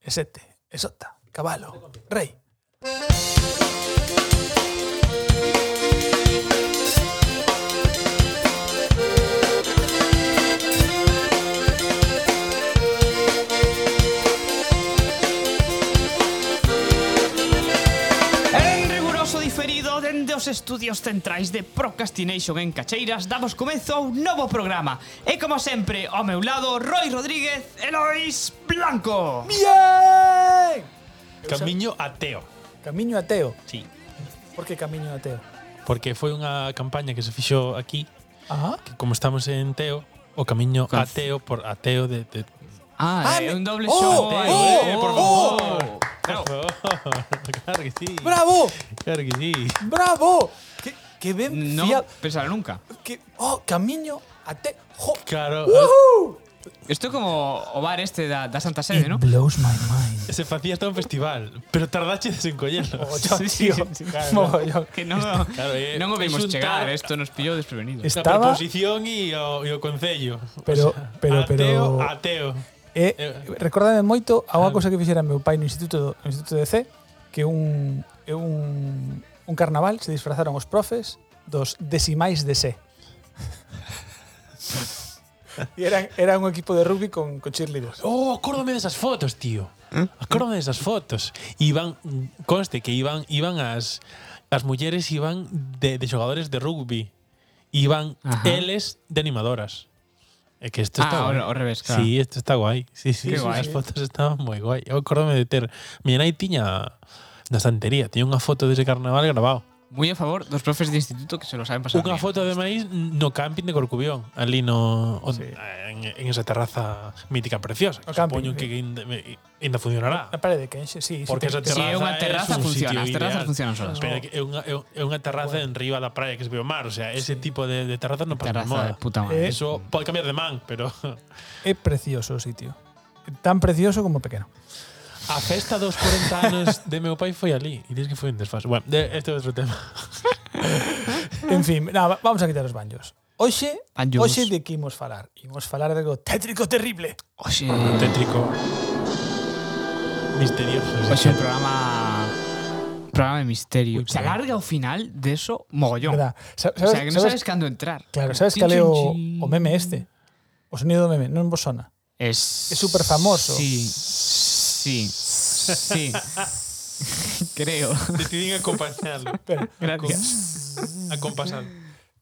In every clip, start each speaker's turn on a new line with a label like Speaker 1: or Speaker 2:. Speaker 1: Es este, Esota, Caballo, Rey.
Speaker 2: En riguroso diferido dende os estudios centrais de Procrastination en Cacheiras damos comezo a un novo programa E como sempre, ao meu lado, Roy Rodríguez e Lois Blanco
Speaker 1: ¡Bien!
Speaker 3: Camiño ateo.
Speaker 1: Camiño ateo.
Speaker 3: Sí.
Speaker 1: Por que camiño ateo?
Speaker 3: Porque foi unha campaña que se fixo aquí,
Speaker 1: Ajá.
Speaker 3: que como estamos en Teo, o camiño
Speaker 2: Con-
Speaker 3: ateo por ateo de... de
Speaker 2: Ah,
Speaker 1: Ah,
Speaker 2: é
Speaker 1: me-
Speaker 2: un doble
Speaker 1: Oh,
Speaker 2: xogo
Speaker 1: eh,
Speaker 2: aí.
Speaker 1: eh,
Speaker 3: oh.
Speaker 1: por favor.
Speaker 2: Claro.
Speaker 3: claro que sí.
Speaker 1: ¡Bravo!
Speaker 3: Claro que sí.
Speaker 1: ¡Bravo! ¡Qué, qué bien
Speaker 2: Non
Speaker 1: fiado!
Speaker 2: pensar nunca
Speaker 1: Que, ¡Oh, camiño ateo! Jo.
Speaker 3: Claro.
Speaker 1: ¡Woohoo!
Speaker 2: Isto é como o bar este da, da Santa Sede, non?
Speaker 1: blows my mind.
Speaker 3: Se facía todo un festival, pero tardaches en collelo.
Speaker 1: Mogollón,
Speaker 2: Sí, sí,
Speaker 1: tío.
Speaker 2: sí, sí.
Speaker 1: Mogollón.
Speaker 2: Que non,
Speaker 3: Claro, eh,
Speaker 2: non o
Speaker 3: es
Speaker 2: vimos
Speaker 3: un
Speaker 2: chegar,
Speaker 3: tal-
Speaker 2: isto nos pillou desprevenido
Speaker 1: Es-
Speaker 3: La
Speaker 1: Estaba-
Speaker 3: preposición y o, e o concello.
Speaker 1: Pero-
Speaker 3: O sea,
Speaker 1: pero-
Speaker 3: ateo,
Speaker 1: pero-
Speaker 3: Ateo.
Speaker 1: E
Speaker 3: Eh,
Speaker 1: recordame moito a unha cousa que fixera meu pai no instituto, no instituto de C, que un é un un carnaval se disfrazaron os profes dos decimais de C. e eran era un equipo de rugby con con cheerleaders.
Speaker 3: Oh, acórdame desas fotos, tío.
Speaker 2: ¿Eh?
Speaker 3: Acórdame desas fotos. Iban, conste que iban iban as as mulleres iban de, de xogadores de rugby. Iban
Speaker 2: Ajá.
Speaker 3: eles de animadoras. É que isto está
Speaker 2: Ah,
Speaker 3: guai.
Speaker 2: ao- ao revés, claro.
Speaker 3: Sí, isto está guai. Sí, sí,
Speaker 2: Qué
Speaker 3: sí,
Speaker 2: guai.
Speaker 3: as fotos estaban moi guai. Eu acórdame de ter. Miña nai tiña na estantería, tiña unha foto dese carnaval grabado.
Speaker 2: Moi a favor dos profes de instituto que se lo saben pasar bien.
Speaker 3: Unha foto de maíz no camping de Corcubión, ali no o- en, en esa terraza mítica preciosa.
Speaker 1: O
Speaker 3: O
Speaker 1: camping,
Speaker 3: camping, que ainda, ainda funcionará.
Speaker 1: Na parede que enxe, sí, sí,
Speaker 3: Porque
Speaker 1: te-
Speaker 3: esa
Speaker 1: te-
Speaker 2: Sí, é
Speaker 3: terraza,
Speaker 2: unha terraza
Speaker 3: é un
Speaker 2: funciona,
Speaker 3: sitio
Speaker 2: as terrazas
Speaker 3: ideal.
Speaker 2: funcionan solas.
Speaker 3: Pero é que é unha, é un- é unha terraza en riba da praia que se ve o mar, o sea, ese tipo de, de terrazas non pasa
Speaker 2: Terraza de
Speaker 3: nada.
Speaker 2: puta madre.
Speaker 1: Eh,
Speaker 3: Eso pode cambiar de man, pero
Speaker 1: é precioso o sitio. Tan precioso como pequeno.
Speaker 3: a festa dos 40 anos de meu pai foi ali e dices que foi un desfase. Bueno, de, este é outro tema.
Speaker 1: En fin, nada, vamos a quitar os banjos. Hoxe,
Speaker 2: Banjos.
Speaker 1: hoxe de que imos falar? Imos falar de algo tétrico terrible.
Speaker 2: Oxe,
Speaker 3: Tétrico. Misterioso.
Speaker 2: oxe, un pues programa programa de misterio.
Speaker 3: Ui,
Speaker 2: Se
Speaker 3: perdón.
Speaker 2: alarga o final de eso mogollón.
Speaker 1: Verdad. Sa-
Speaker 2: O sea, que non sabes cando entrar.
Speaker 1: Claro, sabes
Speaker 2: Chin,
Speaker 1: cal é
Speaker 2: chin,
Speaker 1: o,
Speaker 2: chin.
Speaker 1: o meme este? O sonido do meme, non vos sona.
Speaker 2: Es
Speaker 1: Es superfamoso.
Speaker 2: Sí. Sí. Sí. Creo.
Speaker 3: Decidín acompañarlo.
Speaker 1: Pero
Speaker 2: Gracias.
Speaker 3: Acompasar.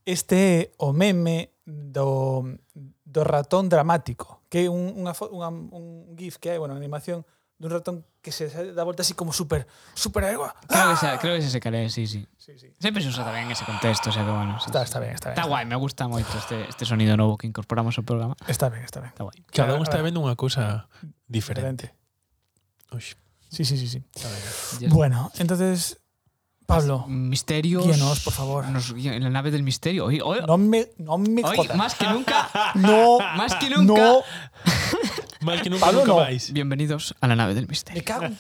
Speaker 1: este é o meme do, do ratón dramático, que é un, unha, fo- unha, un gif que hai, bueno, unha animación dun ratón que se sa- dá volta así como super super agua.
Speaker 2: Creo que, xa- creo que se calé, sí, sí.
Speaker 1: Sí, sí.
Speaker 2: Sempre se usa tamén ese contexto, o sea que bueno. sí,
Speaker 1: Está,
Speaker 2: sí.
Speaker 1: está ben, está ben.
Speaker 2: Está guai, me gusta moito este, este sonido novo que incorporamos ao programa.
Speaker 1: Está ben, está ben.
Speaker 2: Está guai.
Speaker 3: Cada
Speaker 1: Ahora-
Speaker 3: un está vendo unha cousa diferente.
Speaker 1: Diferente.
Speaker 3: Ux,
Speaker 1: Sí, sí, sí, sí.
Speaker 2: Ya está.
Speaker 1: Bueno, entonces Pablo,
Speaker 2: Misterios.
Speaker 1: guíanos, por favor.
Speaker 2: Nos guía- en la nave del misterio. Hoy, hoy,
Speaker 1: non me non me
Speaker 2: hoy,
Speaker 1: jodas.
Speaker 2: más que nunca.
Speaker 1: No,
Speaker 2: más que nunca.
Speaker 1: no,
Speaker 3: Mal que nunca,
Speaker 1: Pablo,
Speaker 3: nunca
Speaker 1: no.
Speaker 3: vais.
Speaker 2: Bienvenidos a la nave del
Speaker 1: me
Speaker 2: misterio.
Speaker 1: cago. en-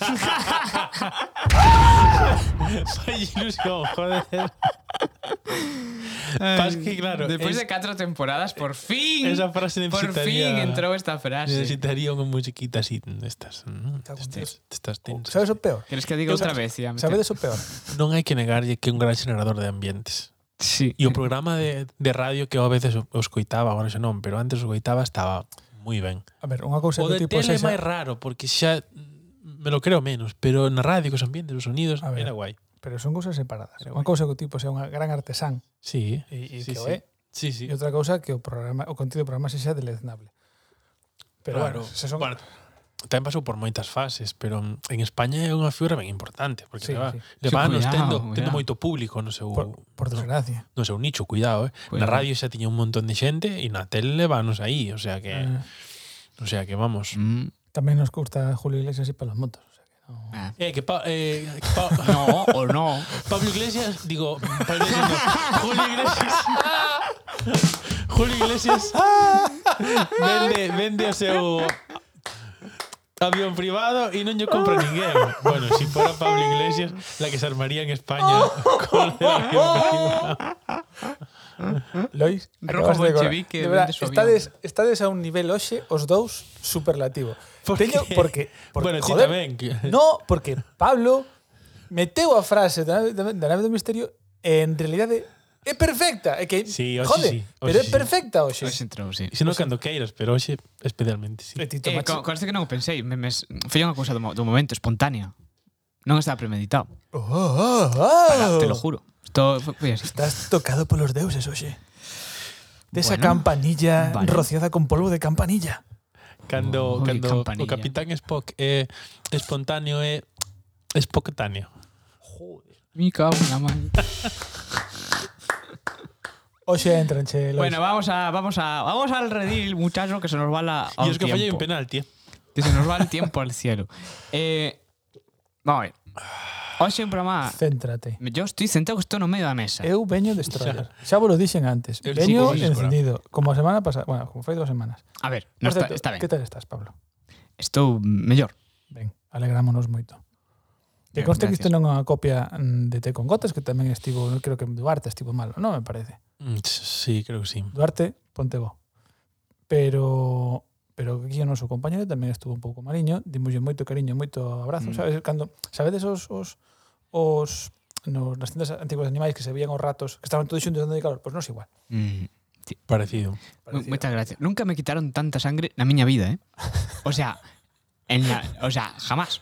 Speaker 3: Vai ilusión, joder. Pas que, claro,
Speaker 2: Después
Speaker 3: es- eh,
Speaker 2: de cuatro temporadas, por fin.
Speaker 3: esa frase
Speaker 2: por
Speaker 3: necesitaría...
Speaker 2: fin entró esta frase.
Speaker 3: Necesitaría unha musiquita así destas. mm,
Speaker 1: Cago en
Speaker 3: Destas, destas tensas.
Speaker 1: Sabes o peor?
Speaker 2: ¿Quieres que diga
Speaker 1: Yo-
Speaker 2: otra vez? Ya, me
Speaker 1: Sabedes o peor?
Speaker 3: Non hai que negarlle que é un gran generador de ambientes.
Speaker 2: Sí.
Speaker 3: E o programa de, de radio que eu a veces o- os coitaba, agora xa non, pero antes o coitaba estaba moi ben.
Speaker 1: A ver, unha cousa
Speaker 3: O
Speaker 1: do
Speaker 3: de
Speaker 1: tipo
Speaker 3: tele é
Speaker 1: sexa-
Speaker 3: máis raro, porque xa mm, me lo creo menos, pero na radio, cos ambientes, os sonidos,
Speaker 1: A ver.
Speaker 3: era guai.
Speaker 1: Pero son cousas separadas.
Speaker 3: Pero
Speaker 1: Unha
Speaker 3: bueno.
Speaker 1: cousa que o tipo sea unha gran artesán
Speaker 3: Sí,
Speaker 1: e, e
Speaker 3: sí,
Speaker 1: que o
Speaker 3: sí.
Speaker 1: é,
Speaker 3: Sí, sí.
Speaker 1: e outra cousa que o programa o contido do programa se xa deleznable. Pero bueno,
Speaker 3: Claro.
Speaker 1: se son
Speaker 3: Bueno, tamén pasou por moitas fases, pero mm, en España é unha figura ben importante, porque
Speaker 1: Sí,
Speaker 3: sí, leva,
Speaker 1: sí.
Speaker 3: sí. leva
Speaker 2: Sí,
Speaker 3: anos
Speaker 2: cuidao,
Speaker 3: tendo,
Speaker 2: cuidao.
Speaker 3: tendo moito público no seu,
Speaker 1: por, por desgracia.
Speaker 3: no seu nicho, cuidado, eh. Na
Speaker 2: Cuidao.
Speaker 3: radio xa tiña un montón de xente e na tele levanos aí, o sea que,
Speaker 1: Eh,
Speaker 3: o sea que vamos.
Speaker 2: Ah. Mm.
Speaker 1: tamén nos gusta Julio Iglesias e Palos Motos. O sea que non.
Speaker 2: Ah.
Speaker 3: Eh, que pa, eh, que pa,
Speaker 2: No, o no.
Speaker 3: Pablo Iglesias, digo, Pablo Iglesias, no, Julio Iglesias. Julio Iglesias vende, vende o seu avión privado e non lle compra ninguén. Bueno, se si fora Pablo Iglesias, la que se armaría en España con el avión privado.
Speaker 1: Oh. Lois, acabas
Speaker 2: Rojas de
Speaker 1: acordar.
Speaker 2: Chevique
Speaker 1: De verdad,
Speaker 2: vende su
Speaker 1: estades, estades a un nivel hoxe os dous superlativo.
Speaker 3: Por
Speaker 1: Teño-
Speaker 3: qué?
Speaker 1: porque, porque
Speaker 3: Bueno, ti
Speaker 1: joder,
Speaker 3: tamén.
Speaker 1: No, porque Pablo meteu a frase da nave, da nave do misterio e en realidade é perfecta, é que
Speaker 3: Sí, hoxe
Speaker 1: jode,
Speaker 3: sí, hoxe
Speaker 1: pero é
Speaker 3: sí.
Speaker 1: perfecta hoxe.
Speaker 2: Pois entrou, sí.
Speaker 3: Se non cando queiras, pero hoxe especialmente, sí.
Speaker 1: E Tito
Speaker 2: Eh,
Speaker 1: Machi-
Speaker 2: co, conste que non o pensei, me, me, foi unha cousa do, mo- do momento, espontánea. Non estaba premeditado,
Speaker 1: Oh, oh, oh.
Speaker 2: te lo juro. Isto foi- foi así.
Speaker 1: Estás tocado polos deuses hoxe. Desa
Speaker 2: Bueno,
Speaker 1: campanilla
Speaker 2: vale.
Speaker 1: rociada con polvo de campanilla.
Speaker 2: Ui,
Speaker 3: Cando, cando o
Speaker 2: campanilla.
Speaker 3: Capitán Spock é espontáneo eh, é espontáneo.
Speaker 2: Mi cago na man.
Speaker 1: Hoxe entran, che, Lois.
Speaker 2: Bueno, vamos a vamos a vamos al redil, muchacho, que se nos va la a
Speaker 3: E
Speaker 2: un
Speaker 3: os que fallei un
Speaker 2: tiempo.
Speaker 3: penalti, eh.
Speaker 2: Que se nos va el tiempo al cielo. Eh, vamos a ver. Hoxe un programa...
Speaker 1: Céntrate.
Speaker 2: Yo estoy sentado que estou no medio da mesa.
Speaker 1: Eu veño destroyer. Xa vos lo dixen antes.
Speaker 3: El
Speaker 1: veño
Speaker 3: chico díscola.
Speaker 1: encendido. Como a semana pasada. Bueno, como foi dúas semanas.
Speaker 2: A ver, no
Speaker 1: Por
Speaker 2: está,
Speaker 1: certo,
Speaker 2: está ben.
Speaker 1: Que tal estás, Pablo?
Speaker 2: Estou mellor.
Speaker 1: Ben, alegrámonos moito. Que
Speaker 2: Ben,
Speaker 1: conste que isto
Speaker 2: gracias.
Speaker 1: non é unha copia mm, de Te con Gotas, que tamén estivo, creo que Duarte estivo malo, non me parece.
Speaker 3: Mm, Sí, creo que sí.
Speaker 1: Duarte, ponte vos. Pero pero aquí o noso compañero tamén estuvo un pouco mariño, dimoslle moito cariño, moito abrazo, mm.
Speaker 2: Mm.
Speaker 1: sabes? Cando, sabedes os, os, os no, nas tiendas antigos de animais que se vían os ratos, que estaban todos xuntos dando de calor, pois non é igual.
Speaker 2: Mm,
Speaker 3: Parecido.
Speaker 2: mu- Moitas gracias. Nunca me quitaron tanta sangre na miña vida, eh? O sea, en la, o sea, jamás.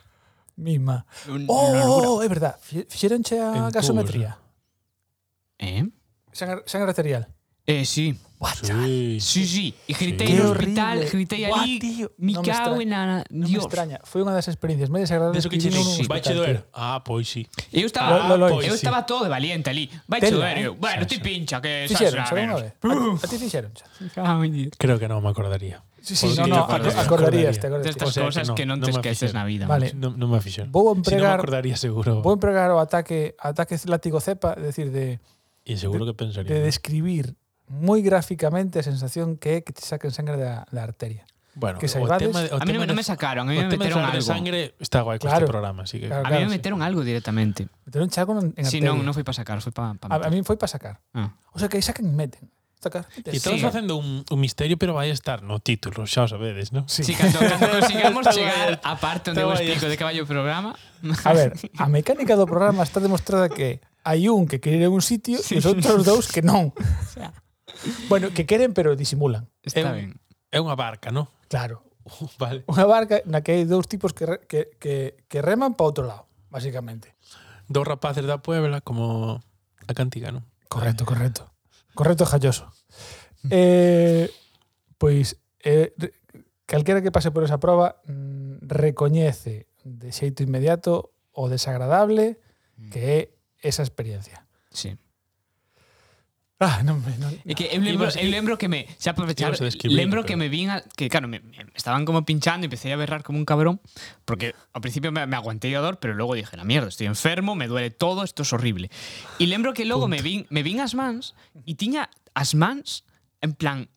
Speaker 1: Mima.
Speaker 2: Un-
Speaker 1: Oh, oh,
Speaker 2: unha locura.
Speaker 1: oh, é verdad. Fi- Fixeronche a
Speaker 3: En
Speaker 1: gasometría.
Speaker 2: Eh?
Speaker 1: Sangre, sangre arterial.
Speaker 2: Eh, sí.
Speaker 3: Sí.
Speaker 2: Sí, sí. E gritei
Speaker 1: Qué
Speaker 2: no
Speaker 1: horrible.
Speaker 2: hospital, gritei
Speaker 1: Buah,
Speaker 2: ali,
Speaker 1: tío.
Speaker 2: mi
Speaker 1: No me
Speaker 2: cago en la...
Speaker 1: Non me
Speaker 2: Dios.
Speaker 1: extraña. Foi unha das experiencias máis desagradables
Speaker 3: Deso que che
Speaker 1: vivín nun
Speaker 3: dixen, vai che
Speaker 1: hospital,
Speaker 3: doer.
Speaker 1: tío.
Speaker 3: Ah,
Speaker 2: pues
Speaker 3: pois sí.
Speaker 2: Eu estaba,
Speaker 1: Lo- lo- lo-
Speaker 2: eu
Speaker 3: sí.
Speaker 2: estaba todo de valiente ali. Vai
Speaker 1: Tela,
Speaker 2: chover,
Speaker 1: eh.
Speaker 2: eu. Bueno, ti pincha que sabes
Speaker 1: Fixeron, xa unha vez. A, a ti fixeron, xa.
Speaker 3: Creo que non me acordaría.
Speaker 1: Sí, sí,
Speaker 3: Porque
Speaker 1: no, no,
Speaker 3: yo acordaría.
Speaker 1: acordarías, te
Speaker 2: De
Speaker 1: acordarías.
Speaker 2: estas
Speaker 3: O sea, que
Speaker 2: cosas
Speaker 3: no,
Speaker 2: que non
Speaker 3: no
Speaker 2: te
Speaker 3: me
Speaker 2: esqueces
Speaker 3: fixeron.
Speaker 2: na vida.
Speaker 1: Vale.
Speaker 3: Non, non me afixen.
Speaker 1: Vou
Speaker 3: Si non me
Speaker 1: empregar-
Speaker 3: acordaría seguro.
Speaker 1: Vou empregar o ataque, ataque látigo cepa, é dicir, de,
Speaker 3: E seguro que pensaría.
Speaker 1: de describir moi gráficamente a sensación que é que te saquen sangre da, da arteria.
Speaker 3: bueno,
Speaker 1: que
Speaker 3: o
Speaker 1: salvades-
Speaker 3: tema de- o
Speaker 2: A mí non,
Speaker 3: tema de-
Speaker 2: non me sacaron, a mí
Speaker 3: o
Speaker 2: me
Speaker 3: tema de
Speaker 2: meteron
Speaker 3: sangre,
Speaker 2: algo.
Speaker 3: sangre está guai con
Speaker 1: Claro.
Speaker 3: este programa, así que
Speaker 1: Claro.
Speaker 2: a mí me meteron algo directamente.
Speaker 1: Meteron algo en, en
Speaker 2: Si
Speaker 1: arteria.
Speaker 2: non, non foi para sacar, foi para pa
Speaker 1: a, a
Speaker 2: meter.
Speaker 1: min foi para sacar.
Speaker 2: Ah.
Speaker 1: O sea, que aí saquen e meten. Sacar.
Speaker 3: E
Speaker 1: meten.
Speaker 3: estamos
Speaker 2: Sí.
Speaker 3: facendo un, un misterio, pero vai estar no título, xa o sabedes, non?
Speaker 2: Sí, cando, cando consigamos
Speaker 3: Está
Speaker 2: chegar
Speaker 3: guai.
Speaker 2: a parte onde
Speaker 3: Está
Speaker 2: eu
Speaker 3: guai
Speaker 2: explico de que vai o programa,
Speaker 1: A ver, a mecánica do programa está demostrada que hai un que quere ir a un sitio e os outros dous que non.
Speaker 2: sea.
Speaker 1: Bueno, que queren pero disimulan.
Speaker 2: está
Speaker 3: Eu-
Speaker 2: ben.
Speaker 3: É unha barca, non?
Speaker 1: Claro.
Speaker 3: Vale.
Speaker 1: Unha barca na que hai dous tipos que, re- que, que, que reman para outro lado, basicamente.
Speaker 3: Dos rapaces da Puebla como a cantiga, non?
Speaker 1: Correcto, correcto. Correcto, jalloso. Eh, pois, eh, re- calquera que pase por esa proba mm, recoñece de xeito inmediato o desagradable que é esa experiencia.
Speaker 2: Sí.
Speaker 1: Ah, non me... Non,
Speaker 2: É que eu lembro,
Speaker 3: Ibas-
Speaker 2: eu lembro que me, xa para fechar,
Speaker 3: Ibas a describir,
Speaker 2: lembro que
Speaker 3: pero-
Speaker 2: me vin, a- que claro, me, me estaban como pinchando, empecé a berrar como un cabrón, porque ao principio me, me aguanté a dor, pero luego dije, la mierda, estoy enfermo, me duele todo, esto es horrible. Y lembro que logo me vin, me vin as mans e tiña as mans en plan,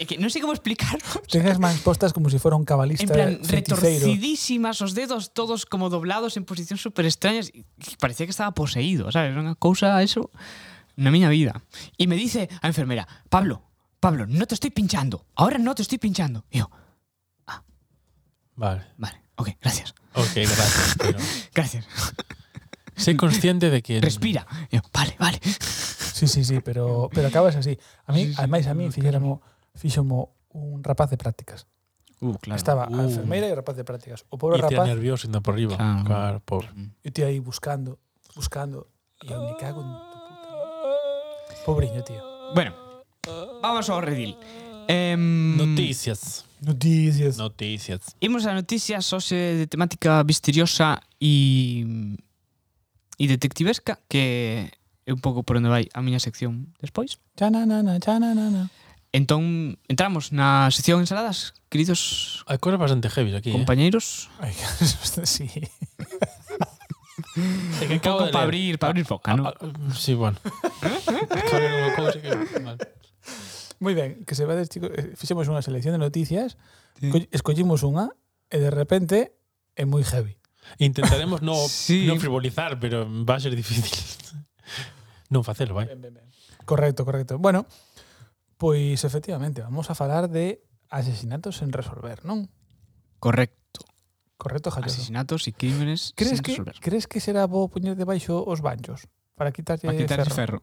Speaker 2: é que non sei como explicarlo,
Speaker 1: Tengas mans postas como se si fora un cabalista
Speaker 2: en plan
Speaker 1: feticeiro.
Speaker 2: retorcidísimas, os dedos todos como doblados en posicións super extrañas e e parecía que estaba poseído, sabes? Era Unha cousa eso na miña vida. E me dice a enfermera, "Pablo, Pablo, no te estoy pinchando. Ahora no te estoy pinchando." E eu,
Speaker 3: Vale.
Speaker 2: "Vale, ok, gracias.
Speaker 3: Ok, gracias. Pero...
Speaker 2: Gracias.
Speaker 3: Sé consciente de que...
Speaker 2: Respira." E eu, "Vale, vale."
Speaker 1: Sí, sí, sí, pero, pero acabas así. A mí, ademais, a mí fixéramo, fixomo un rapaz de prácticas.
Speaker 2: Uh, claro.
Speaker 1: Estaba a
Speaker 3: Uh.
Speaker 1: enfermeira e o rapaz de prácticas. O
Speaker 3: E
Speaker 1: pobre
Speaker 3: te
Speaker 1: rapaz,
Speaker 3: nervioso indo por arriba.
Speaker 2: Claro.
Speaker 3: Claro, pobre.
Speaker 1: eu te aí buscando, buscando, e eu me cago en tu puta.
Speaker 3: Ah.
Speaker 1: madre. Pobriño, tío.
Speaker 2: Bueno, vamos ao redil. Em,
Speaker 3: Noticias.
Speaker 1: Noticias.
Speaker 3: Noticias.
Speaker 2: Imos a noticias hoxe de temática misteriosa e e detectivesca que é un pouco por onde vai a miña sección despois.
Speaker 1: Chananana, chananana.
Speaker 2: Entón, entramos na sección ensaladas, queridos
Speaker 3: Hai cosas bastante heavy aquí, eh?
Speaker 2: compañeiros.
Speaker 1: Ai, que- sí.
Speaker 3: É eh, que
Speaker 2: Un pouco para abrir, para abrir boca, non?
Speaker 3: Ah, sí, bueno. Acabo de ler unha cousa que... Vale.
Speaker 1: Moi ben, que se va des, chicos, eh, fixemos unha selección de noticias, co- escollimos unha, e de repente é moi heavy.
Speaker 3: Intentaremos non
Speaker 2: Sí.
Speaker 3: non frivolizar, pero va a ser difícil. Non facelo, vai.
Speaker 1: Ben, ben, ben. Correcto, correcto. Bueno, pois efectivamente, vamos a falar de asesinatos sen resolver, non?
Speaker 2: Correcto.
Speaker 1: Correcto, Jacobo.
Speaker 2: Asesinatos y
Speaker 1: Ah,
Speaker 2: crímenes
Speaker 1: Crees
Speaker 2: sin
Speaker 1: que
Speaker 2: resolver.
Speaker 1: crees que será bo poñer debaixo os banchos para quitarlle
Speaker 2: Para quitarle
Speaker 1: ferro?
Speaker 2: ferro.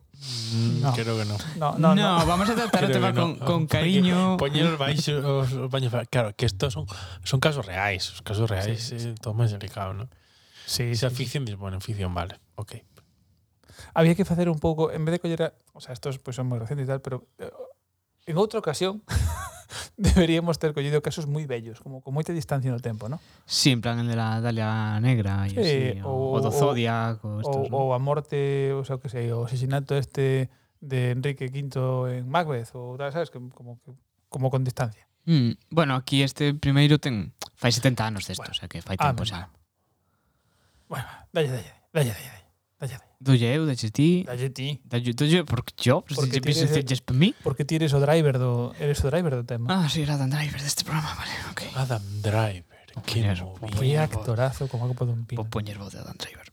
Speaker 3: Mm,
Speaker 1: No.
Speaker 3: Creo que no.
Speaker 1: No,
Speaker 2: No,
Speaker 1: no, no.
Speaker 2: vamos a tratar el
Speaker 3: Creo
Speaker 2: tema
Speaker 3: que no.
Speaker 2: con, con cariño.
Speaker 3: Poñer os baixos, os, os baños. Claro, que estos son, son casos reais. Os casos reais sí, eh, todo máis delicado, non?
Speaker 1: Sí,
Speaker 3: Esa ficción, dis, bueno, ficción, vale. Ok.
Speaker 1: había que facer un pouco, en vez de coller, a- o sea, estos pois son moi recentes e tal, pero eh, en outra ocasión deberíamos ter collido casos moi bellos, como con moita distancia no tempo, ¿no?
Speaker 2: Sí, en plan el de la Dalia Negra y así.
Speaker 1: Eh,
Speaker 2: o,
Speaker 1: o-
Speaker 2: o do
Speaker 1: o-
Speaker 2: Zodiac. O, estos,
Speaker 1: Ou,
Speaker 2: ¿no?
Speaker 1: ou a morte, o sea, o que sei, o asesinato este de Enrique V en Macbeth ou tal, sabes, que como que como con distancia.
Speaker 2: Mm, bueno, aquí este primeiro ten fai 70 anos desto,
Speaker 1: Bueno.
Speaker 2: o sea que fai
Speaker 1: Ah,
Speaker 2: tempo xa.
Speaker 1: Bueno, dalle, dalle, dalle, dalle, dalle. Dalle, dalle.
Speaker 2: Dolle eu, dolle ti,
Speaker 1: Dalle ti.
Speaker 2: dolle, dolle, porque yo, pues,
Speaker 1: Porque ti
Speaker 2: porque pienso
Speaker 1: eres el-
Speaker 2: decir, yes, mí.
Speaker 1: Porque ti eres o driver do eres o driver do tema.
Speaker 2: Ah, sí, era Dan Driver deste programa, vale, ok.
Speaker 3: Adam Driver. Que
Speaker 2: Poñer-
Speaker 3: movida.
Speaker 1: Que actorazo como que pode un pino.
Speaker 2: Vou poñer voz de Dan Driver.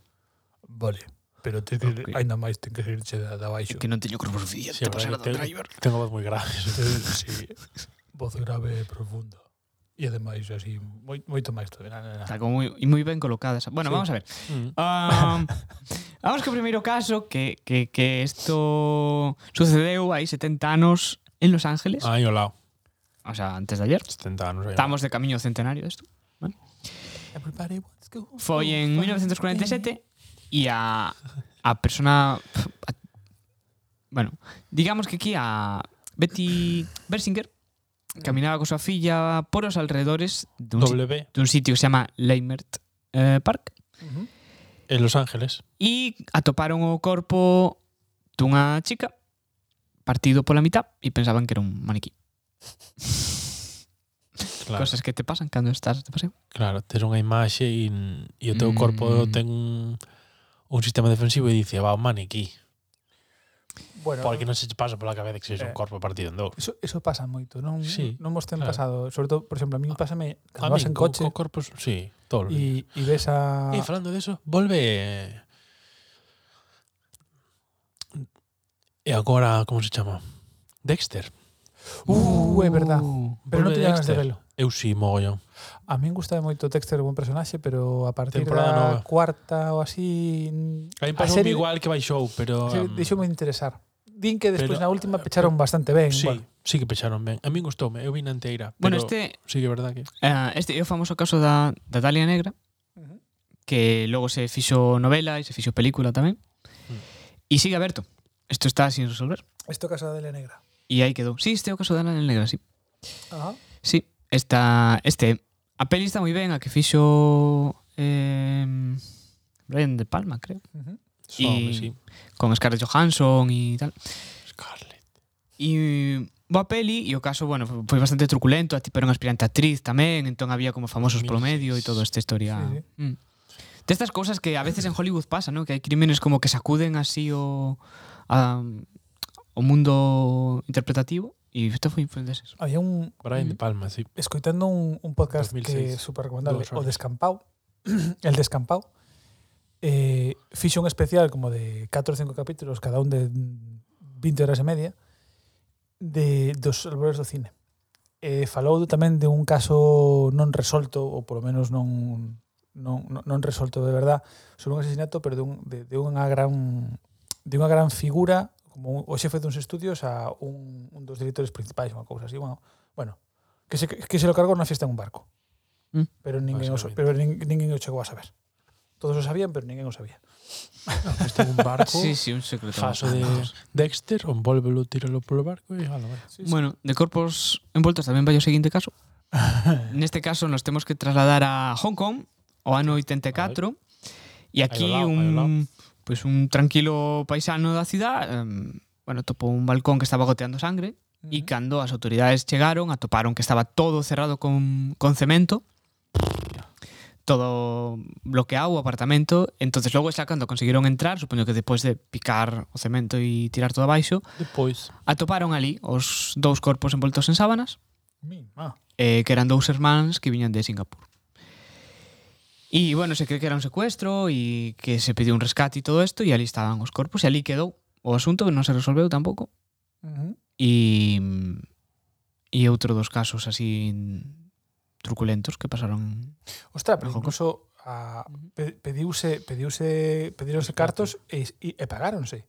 Speaker 1: Vale. Pero te,
Speaker 2: Ok.
Speaker 1: ainda máis ten que irche da, da
Speaker 2: É
Speaker 1: baixo.
Speaker 2: que non teño corpo
Speaker 3: Sí,
Speaker 2: suficiente
Speaker 3: a
Speaker 2: para ser
Speaker 3: verdade,
Speaker 2: Dan
Speaker 3: ten-
Speaker 2: Driver.
Speaker 3: Tengo voz moi grave.
Speaker 1: sí. Voz grave e profunda. E ademais así moi, moito máis todo. Na, na, na.
Speaker 2: Está como moi, e moi ben colocada esa.
Speaker 1: Ah.
Speaker 2: Bueno,
Speaker 1: Sí.
Speaker 2: vamos a ver.
Speaker 3: Mm.
Speaker 2: Um, vamos co primeiro caso que, que, que esto sucedeu hai 70 anos en Los Ángeles,
Speaker 3: Ai, olá.
Speaker 1: Ah.
Speaker 2: o sea, antes de ayer.
Speaker 3: 70 anos. aí ao lado.
Speaker 2: Estamos de camiño ao centenario desto.
Speaker 1: Everybody wants to go
Speaker 2: Foi en
Speaker 1: for
Speaker 2: 1947 e a a persona a- bueno, digamos que aquí a Betty Bersinger caminaba con súa filla por os alrededores dun, si-
Speaker 3: W
Speaker 2: dun sitio que se chama Leimert eh, Park
Speaker 1: it. Ujú.
Speaker 3: en Los Ángeles.
Speaker 2: e atoparon o corpo dunha chica partido pola mitad e pensaban que era un maniquí.
Speaker 3: Claro,
Speaker 2: Cosas que te pasan cando estás de paseo.
Speaker 3: claro, tes unha imaxe e, e o teu
Speaker 2: Mm.
Speaker 3: corpo ten un, un sistema defensivo e dice, va, un maniquí.
Speaker 1: Bueno,
Speaker 3: Porque non se te pasa pola cabeza que sexa un
Speaker 1: Eh.
Speaker 3: corpo partido en dous.
Speaker 1: Eso, eso pasa moito, non,
Speaker 3: Sí,
Speaker 1: non vos ten
Speaker 3: claro. Ah,
Speaker 1: pasado, sobre todo, por exemplo, a min pásame
Speaker 3: A
Speaker 1: cando vas
Speaker 3: min,
Speaker 1: en
Speaker 3: co-
Speaker 1: coche
Speaker 3: co corpos, sí, todo. E
Speaker 1: e e ves a
Speaker 3: eh, falando de eso, volve... E agora, como eh, se chama? Dexter.
Speaker 1: Uh, é verdad. Pero non te
Speaker 3: volve
Speaker 1: ganas de
Speaker 3: Dexter.
Speaker 1: velo.
Speaker 3: Eu sí, mogollón.
Speaker 1: A min gustaba moito Dexter, buen personaxe, pero a partir
Speaker 3: Temporada
Speaker 1: da
Speaker 3: nova.
Speaker 1: cuarta ou así
Speaker 3: A
Speaker 1: a
Speaker 3: mí pasou
Speaker 1: serie,
Speaker 3: igual que baixou, pero...
Speaker 1: se
Speaker 3: um,
Speaker 1: deixoume interesar. Din que despois
Speaker 3: Pero-
Speaker 1: na
Speaker 3: eh,
Speaker 1: última pecharon bastante ben.
Speaker 3: Sí,
Speaker 1: bueno.
Speaker 3: sí que pecharon ben. A min gustoume, eu vi na enteira.
Speaker 2: Bueno,
Speaker 3: pero
Speaker 2: este
Speaker 3: Sí que é verdad que...
Speaker 2: eh, este é o famoso caso da, da Dalia Negra
Speaker 1: Ujú.
Speaker 2: que logo se fixo novela e se fixo película tamén.
Speaker 1: Hmm.
Speaker 2: E
Speaker 3: Mm.
Speaker 2: sigue aberto. Isto está sin resolver.
Speaker 1: Esto casa de la negra.
Speaker 2: E aí quedou. Sí, este é o caso da Ana Negra, sí.
Speaker 1: Ajá.
Speaker 2: Sí, esta, este. A peli está moi ben, a que fixo... Eh, Brian De Palma, creo.
Speaker 1: Ujú.
Speaker 3: Sóme, sí.
Speaker 2: Con Scarlett Johansson e tal.
Speaker 3: Scarlett.
Speaker 2: E boa peli, e o caso, bueno, foi bastante truculento, a ti pero unha aspirante actriz tamén, entón había como famosos polo medio e todo esta historia.
Speaker 1: Sí,
Speaker 2: Mm. De estas cousas que a veces en Hollywood pasa, ¿no? Que hai crímenes como que sacuden así o a, o mundo interpretativo e isto foi foi un deses.
Speaker 1: Había un
Speaker 3: Brian De Palma, sí.
Speaker 1: escoitando un, un podcast
Speaker 3: 2006,
Speaker 1: que é super recomendable,
Speaker 3: dúas
Speaker 1: o
Speaker 3: horas.
Speaker 1: Descampau, el Descampau, eh, fixo un especial como de 4 ou 5 capítulos, cada un de 20 horas e media, de dos albores do cine. Eh, falou tamén de un caso non resolto, ou polo menos non non, non, non resolto de verdad, sobre un asesinato, pero de, un, de, de unha gran de unha gran figura como un- o xefe duns estudios a un, un dos directores principais, unha cousa así, bueno, bueno que se, que se lo cargou na fiesta en un barco.
Speaker 2: Mm.
Speaker 1: Pero ninguén, o, sa-
Speaker 3: Basicamente.
Speaker 1: pero nin, ninguén o chegou a saber. Todos o sabían, pero ninguén o sabía.
Speaker 3: Este un barco. sí, sí.
Speaker 2: sí, un secreto. Ah,
Speaker 3: Faso de Dexter, envólvelo, tíralo polo barco e ala, vai.
Speaker 2: Bueno, de corpos envoltos tamén vai o seguinte caso. Neste caso nos temos que trasladar a Hong Kong o ano 84 e aquí
Speaker 3: Aí ao lado, aí ao
Speaker 2: un pois un tranquilo paisano da cidade, em, bueno, topou un balcón que estaba goteando sangre
Speaker 1: Mm.
Speaker 2: E cando as autoridades chegaron, atoparon que estaba todo cerrado con, con cemento, todo bloqueado o apartamento, entonces logo xa cando conseguiron entrar, supoño que despois de picar o cemento e tirar todo abaixo,
Speaker 3: Depois,
Speaker 2: atoparon ali os dous corpos envoltos en sábanas,
Speaker 1: Mima.
Speaker 2: eh, que eran dous irmáns que viñan de Singapur. E, bueno, se cree que era un secuestro e que se pediu un rescate e todo isto, e ali estaban os corpos, e ali quedou o asunto que non se resolveu tampouco.
Speaker 1: Ujú.
Speaker 2: E e outro dos casos así truculentos que pasaron
Speaker 1: Ostras, pero
Speaker 2: Ojo,
Speaker 1: incluso a, pe- pediuse, pediuse, pedironse cartos e, e, e pagáronse.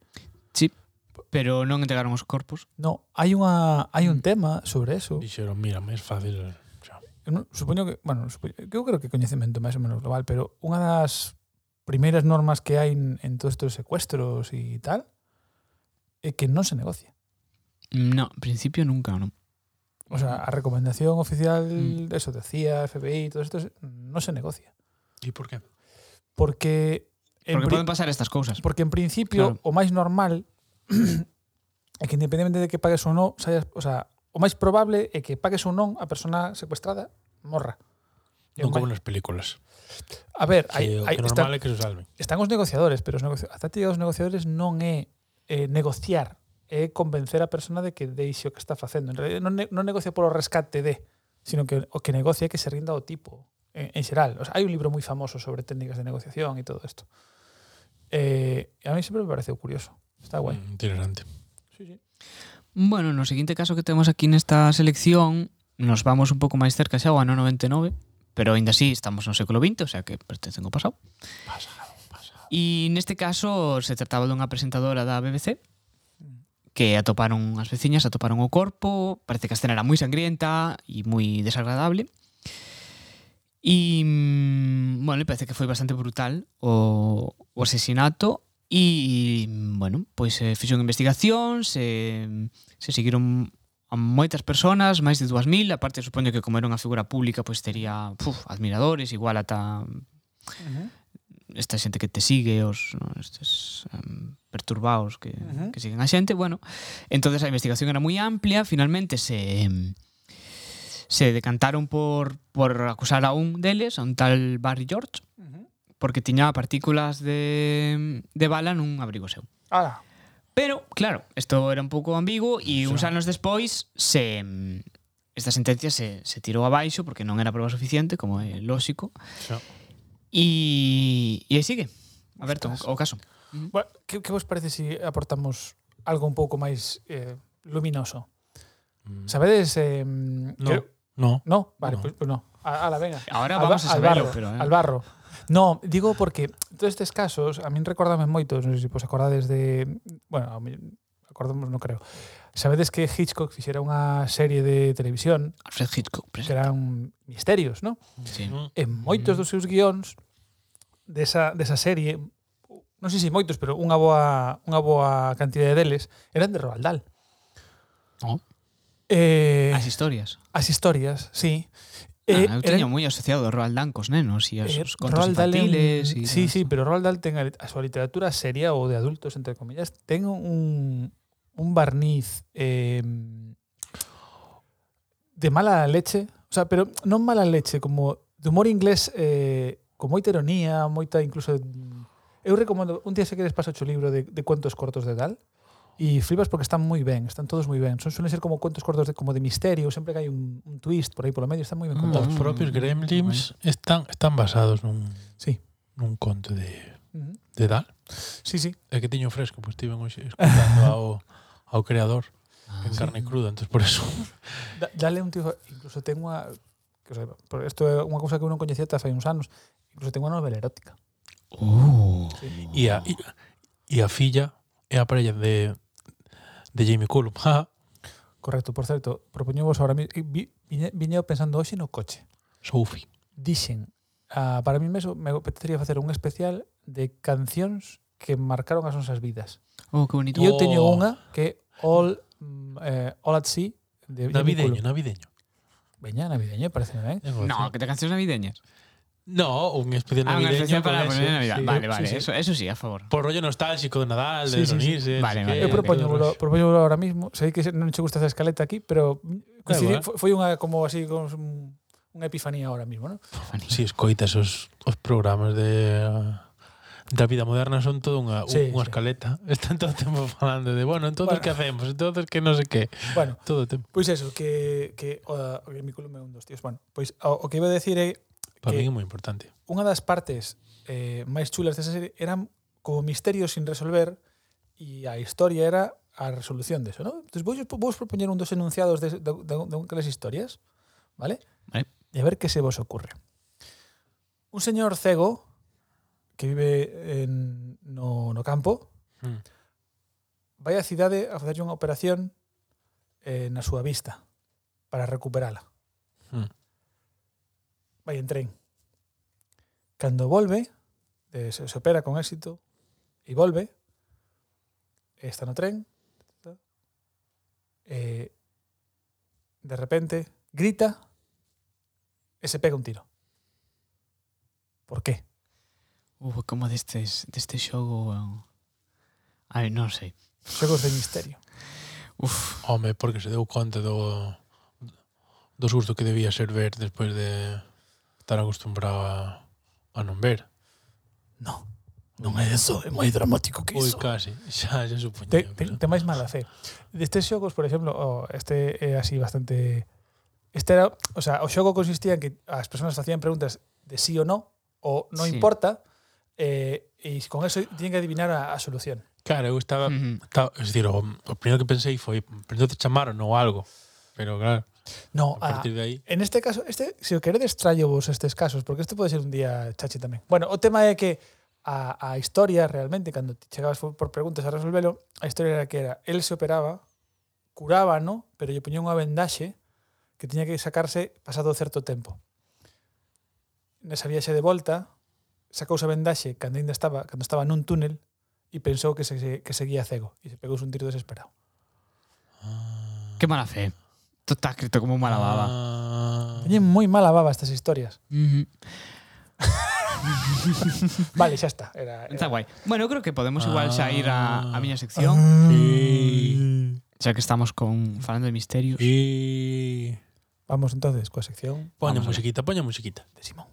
Speaker 2: pero non entregaron os corpos
Speaker 1: No, hai unha hai un tema sobre eso.
Speaker 3: Dixeron, mira, máis fácil. eh, xa".
Speaker 1: Eu non- Supoño que, bueno, supoño, eu creo que coñecemento máis ou menos global, pero unha das primeiras normas que hai en, en todos estes secuestros e tal é que non se negocia.
Speaker 2: no, en principio nunca non
Speaker 1: O sea, a recomendación oficial
Speaker 2: Mm.
Speaker 1: de eso, de CIA, FBI, todo esto, non se negocia.
Speaker 3: E por que?
Speaker 1: Porque en
Speaker 2: porque
Speaker 1: pri-
Speaker 2: poden pasar estas cousas
Speaker 1: Porque en principio
Speaker 2: Claro.
Speaker 1: o máis normal é que independentemente de que pagues ou non, saias, o sea, o máis probable é que pagues ou non a persona secuestrada morra. É o
Speaker 3: Non como
Speaker 1: máis-
Speaker 3: nas películas.
Speaker 1: A ver,
Speaker 3: Que,
Speaker 1: hai,
Speaker 3: o
Speaker 1: hai,
Speaker 3: que
Speaker 1: están,
Speaker 3: normal é que se salven.
Speaker 1: están os negociadores, pero os negocio, a táctica dos negociadores non é eh, negociar, é convencer a persona de que deixe o que está facendo. En realidad non, ne, non negocia polo rescate de, sino que o que negocia é que se rinda o tipo en, en xeral. O sea, hai un libro moi famoso sobre técnicas de negociación e todo isto. Eh, a mí sempre me pareceu curioso. Está guai.
Speaker 3: Mm, Interesante.
Speaker 1: Sí, sí.
Speaker 2: Bueno, no siguiente caso que temos aquí nesta selección nos vamos un pouco máis cerca xa ao ano 99 pero aínda así estamos no século XX o sea que pertencen ao pasado
Speaker 3: Pasado, pasado.
Speaker 2: E neste caso se trataba dunha presentadora da BBC que atoparon as veciñas, atoparon o corpo, parece que a escena era moi sangrienta e moi desagradable. E, mm, bueno, e parece que foi bastante brutal o, o asesinato e, bueno, pois se fixeron investigacións, se, mm, se seguiron a moitas persoas, máis de 2000, aparte supoño que como era unha figura pública, pois tería puf, admiradores, igual ata esta xente que te sigue, os no, estes um, perturbados que,
Speaker 1: Ujú.
Speaker 2: que siguen a xente, bueno, entonces a investigación era moi amplia, finalmente se em, se decantaron por, por acusar a un deles, a un tal Barry George, porque tiña partículas de, de bala nun abrigo seu.
Speaker 1: Ala,
Speaker 2: Pero, claro, isto era un pouco ambiguo e
Speaker 3: Xa.
Speaker 2: uns anos despois se em, esta sentencia se, se tirou abaixo porque non era prova suficiente, como é lóxico,
Speaker 3: Xa.
Speaker 2: e, e aí sigue. Aberto,
Speaker 1: Ostras.
Speaker 2: o caso.
Speaker 1: Bueno, que, que vos parece se si aportamos algo un pouco máis eh, luminoso?
Speaker 3: Mm.
Speaker 1: Sabedes? Eh, no.
Speaker 3: No, no.
Speaker 1: no? Vale,
Speaker 3: No.
Speaker 1: pois pues, no. A- Ala, venga.
Speaker 2: Ahora
Speaker 1: Al ba-
Speaker 2: Ah, vamos a
Speaker 1: al
Speaker 2: saberlo,
Speaker 1: barro,
Speaker 2: pero eh,
Speaker 1: Al barro. No, digo porque todos estes casos, a min recordame moitos, non sei se vos acordades de... Bueno, a min- acordamos, non creo. Sabedes que Hitchcock fixera unha serie de televisión
Speaker 2: Alfred Hitchcock
Speaker 1: que
Speaker 2: presente.
Speaker 1: eran misterios, non?
Speaker 2: Sí.
Speaker 3: Mm.
Speaker 1: en moitos dos seus guións desa, desa serie, non sei se moitos, pero unha boa, unha boa cantidade deles, eran de Roald Dahl.
Speaker 2: Oh.
Speaker 1: Eh,
Speaker 2: As historias.
Speaker 1: as historias, sí.
Speaker 2: Eh, ah, eu teño moi asociado a Roald Dahl cos nenos e os,
Speaker 1: eh,
Speaker 2: os contos
Speaker 1: Roald Dahl é un-
Speaker 2: infantiles. e
Speaker 1: Sí,
Speaker 2: todo
Speaker 1: sí,
Speaker 2: eso.
Speaker 1: pero Roald Dahl ten a, a súa literatura seria ou de adultos, entre comillas, ten un, un barniz eh, de mala leche, o sea, pero non mala leche, como de humor inglés eh, con moita ironía, moita incluso... mm, Eu recomendo, un día se queres paso o libro de, de cuentos cortos de Dahl, E flipas porque están moi ben, están todos moi ben. Son suelen ser como cuentos cortos de, como de misterio, sempre que hai un, un twist por aí polo medio, están moi ben
Speaker 2: Ah,
Speaker 1: contados.
Speaker 3: Os propios Gremlins están, están basados nun,
Speaker 1: Sí.
Speaker 3: nun conto de,
Speaker 1: Ujú.
Speaker 3: de Dal.
Speaker 1: Sí, sí.
Speaker 3: É que teño fresco, pois estiven hoxe escutando ao, ao creador
Speaker 2: Ah,
Speaker 3: en carne cruda, entonces por eso.
Speaker 1: Da- Dale un tío, incluso ten unha que saiba, pero isto é unha cousa que eu non coñecía ata fai uns anos, incluso ten unha novela erótica.
Speaker 2: Oh.
Speaker 3: E a, e, e a filla é a parella de, de Jamie Cullum. Ja,
Speaker 1: Correcto, por certo, propoñemos agora mismo vi, viñe, viñe pensando hoxe no coche.
Speaker 3: Sophie.
Speaker 1: Dixen, ah, para mí mesmo me apetecería facer un especial de cancións que marcaron as nosas vidas.
Speaker 2: oh, que bonito.
Speaker 1: E eu teño
Speaker 3: Oh.
Speaker 1: unha que é All mm, eh, All at Sea de Jimmy
Speaker 3: Navideño,
Speaker 1: Cullum.
Speaker 3: navideño.
Speaker 1: Veña, navideño, parece ben.
Speaker 2: No, que te canciones navideñas.
Speaker 3: no, un especial
Speaker 2: Ah, unha
Speaker 3: navideño.
Speaker 2: especial para la
Speaker 3: con ese,
Speaker 2: primera Navidad.
Speaker 3: sí.
Speaker 2: vale, vale.
Speaker 1: sí.
Speaker 2: Eso, eso sí, a favor.
Speaker 3: Por rollo nostálxico de Nadal,
Speaker 1: Sí,
Speaker 3: de
Speaker 1: sí, sí.
Speaker 3: Reunirse.
Speaker 2: Vale,
Speaker 3: sí
Speaker 2: vale.
Speaker 3: que-
Speaker 1: Eu
Speaker 2: Eh,
Speaker 1: propoño,
Speaker 3: todo rollo.
Speaker 1: propoño ahora mismo. Sei que se- non che gusta esa escaleta aquí, pero coincidi,
Speaker 3: igual.
Speaker 1: fo- foi unha como así como un- unha epifanía ahora mismo, ¿no?
Speaker 3: Si escoitas os, os programas de da vida moderna son toda unha,
Speaker 1: Sí,
Speaker 3: sí, unha
Speaker 1: sí.
Speaker 3: escaleta. Están todo o tempo falando de, bueno, entonces
Speaker 1: Bueno.
Speaker 3: bueno. que hacemos? Entonces que non sei que.
Speaker 1: Bueno,
Speaker 3: Todo o tempo.
Speaker 1: pois eso, que que o, da- o que mi culo me é un dos tíos. Bueno, pois o, o que iba a decir é
Speaker 3: Para
Speaker 1: Que-
Speaker 3: mí é moi importante.
Speaker 1: unha das partes eh, máis chulas desa serie eran como misterios sin resolver e a historia era a resolución deso, ¿no? Entonces vou, vou propoñer un dos enunciados de, de, de, de un que historias, ¿vale?
Speaker 2: Vale.
Speaker 1: E a ver que se vos ocurre. Un señor cego que vive en, no, no campo
Speaker 3: Mm.
Speaker 1: vai á cidade a facerlle unha operación eh, na súa vista para recuperala. Hmm.
Speaker 3: Mm.
Speaker 1: Vai en tren. Cando volve, eh, se, se opera con éxito e volve, e está no tren, ta, eh, de repente grita e se pega un tiro. Por qué?
Speaker 2: Uh, como destes, deste xogo... eh, Ai, non sei.
Speaker 1: Xogos de misterio.
Speaker 2: Uf,
Speaker 3: Home, porque se deu conta do do susto que debía ser ver despois de estar acostumbrado a, a non ver.
Speaker 1: No, non é eso, é moi dramático que
Speaker 3: Oi,
Speaker 1: iso.
Speaker 3: case, xa, xa
Speaker 1: Te, te,
Speaker 3: supoñía. pero-
Speaker 1: te máis mala fe. Destes xogos, por exemplo, oh, este é así bastante... Este era, o sea, o xogo consistía en que as persoas facían preguntas de sí ou no, ou non
Speaker 2: Sí.
Speaker 1: importa, eh, e con eso tiñen que adivinar a, a solución.
Speaker 3: Claro, eu estaba...
Speaker 1: Mm.
Speaker 2: Ujú.
Speaker 3: estaba es decir, o, o primeiro que pensei foi, pero non te chamaron ou algo. Pero claro,
Speaker 1: No, a,
Speaker 3: a partir de aí...
Speaker 1: en este caso, este, se o queredes traio vos estes casos, porque este pode ser un día chachi tamén. Bueno, o tema é que a, a historia realmente, cando te chegabas por, por preguntas a resolvelo, a historia era que era, él se operaba, curaba, ¿no? pero lle poñía unha vendaxe que tiña que sacarse pasado certo tempo. Nesa viaxe de volta, sacou esa vendaxe cando ainda estaba, cando estaba nun túnel e pensou que, se, que seguía cego e se pegou un tiro desesperado. Ah.
Speaker 2: que mala fe. Tú estás escrito como mala baba.
Speaker 3: Ah,
Speaker 1: Teñen moi mala baba estas historias.
Speaker 2: Ujú.
Speaker 1: Vale, xa está. Era,
Speaker 2: Está
Speaker 1: era.
Speaker 2: guai. Bueno, eu creo que podemos igual xa ir a, a miña sección,
Speaker 1: Ah.
Speaker 3: sí,
Speaker 2: xa que estamos con falando de misterios.
Speaker 3: sí.
Speaker 1: Vamos entonces coa sección
Speaker 3: Poña
Speaker 2: Vamos a ver.
Speaker 3: musiquita, poña musiquita.
Speaker 1: de Simón.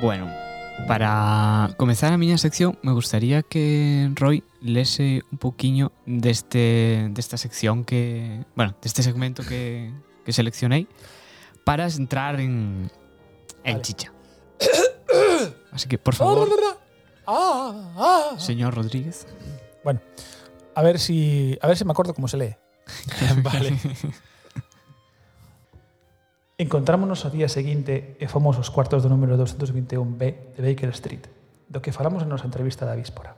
Speaker 2: Bueno, para comezar a miña sección, me gustaría que Roy lese un pouquiño deste desta sección que, bueno, deste segmento que que seleccionei para entrar en en
Speaker 1: Vale.
Speaker 2: chicha. Así que, por favor,
Speaker 1: Ah, ah.
Speaker 2: señor Rodríguez.
Speaker 1: A ver si a ver si me acuerdo cómo se lee.
Speaker 3: vale.
Speaker 1: Encontrámonos ao día seguinte e fomos aos cuartos do número 221B de Baker Street, do que falamos na nosa entrevista da víspora.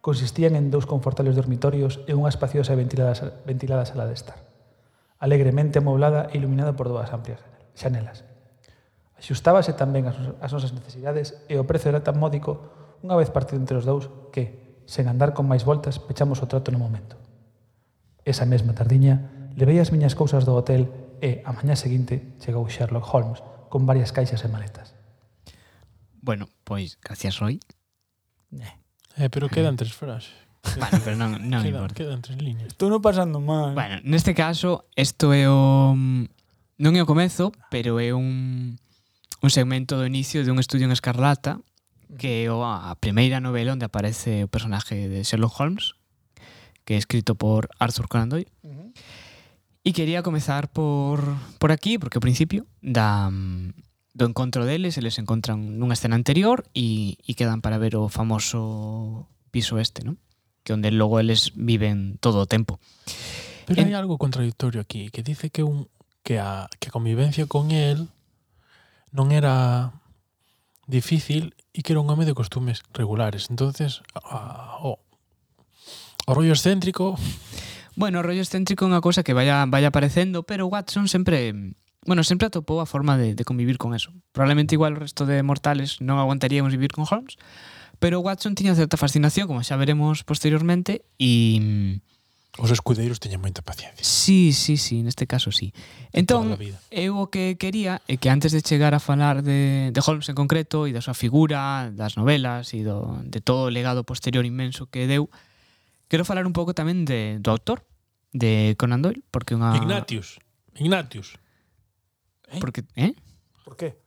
Speaker 1: Consistían en dous confortables dormitorios e unha espaciosa e ventilada, sa- ventilada sala de estar, alegremente amoblada e iluminada por dúas amplias xanelas. Axustábase tamén as, nos- as nosas necesidades e o prezo era tan módico unha vez partido entre os dous que, sen andar con máis voltas, pechamos o trato no momento. Esa mesma tardiña levei as miñas cousas do hotel e a mañá seguinte chegou Sherlock Holmes con varias caixas e maletas.
Speaker 2: Bueno, pois, gracias Roy.
Speaker 3: Eh, pero quedan tres frases.
Speaker 2: Bueno, pero non non
Speaker 3: quedan,
Speaker 2: importa.
Speaker 3: quedan tres líneas.
Speaker 1: Estou non pasando mal.
Speaker 2: Bueno, neste caso, isto é o mm, non é o comezo, pero é un un segmento do inicio de un estudio en Escarlata que é o- a primeira novela onde aparece o personaje de Sherlock Holmes que é escrito por Arthur Conan Doyle e quería comezar por por aquí porque ao principio da mm, do encontro deles eles se encontran nunha escena anterior e, e quedan para ver o famoso piso este, non? que onde logo eles viven todo o tempo.
Speaker 3: Pero
Speaker 2: En-
Speaker 3: hay algo contradictorio aquí, que dice que un que a que a convivencia con él non era difícil e que era un home de costumes regulares. Entonces, a- a- o, o rollo excéntrico,
Speaker 2: Bueno, o rollo excéntrico é unha cousa que vaya vaya aparecendo, pero Watson sempre bueno, sempre atopou a forma de, de convivir con eso. Probablemente igual o resto de mortales non aguantaríamos vivir con Holmes, pero Watson tiña certa fascinación, como xa veremos posteriormente, e
Speaker 3: os escudeiros teñen moita paciencia.
Speaker 2: sí, sí, sí, neste caso sí. Entón,
Speaker 3: Toda a vida.
Speaker 2: Eu o que quería é que antes de chegar a falar de, de Holmes en concreto e da súa figura, das novelas e do, de todo o legado posterior inmenso que deu, quero falar un pouco tamén de, do autor, de Conan Doyle, porque é unha...
Speaker 3: Ignatius, Ignatius.
Speaker 2: Porque, eh?
Speaker 1: Por qué?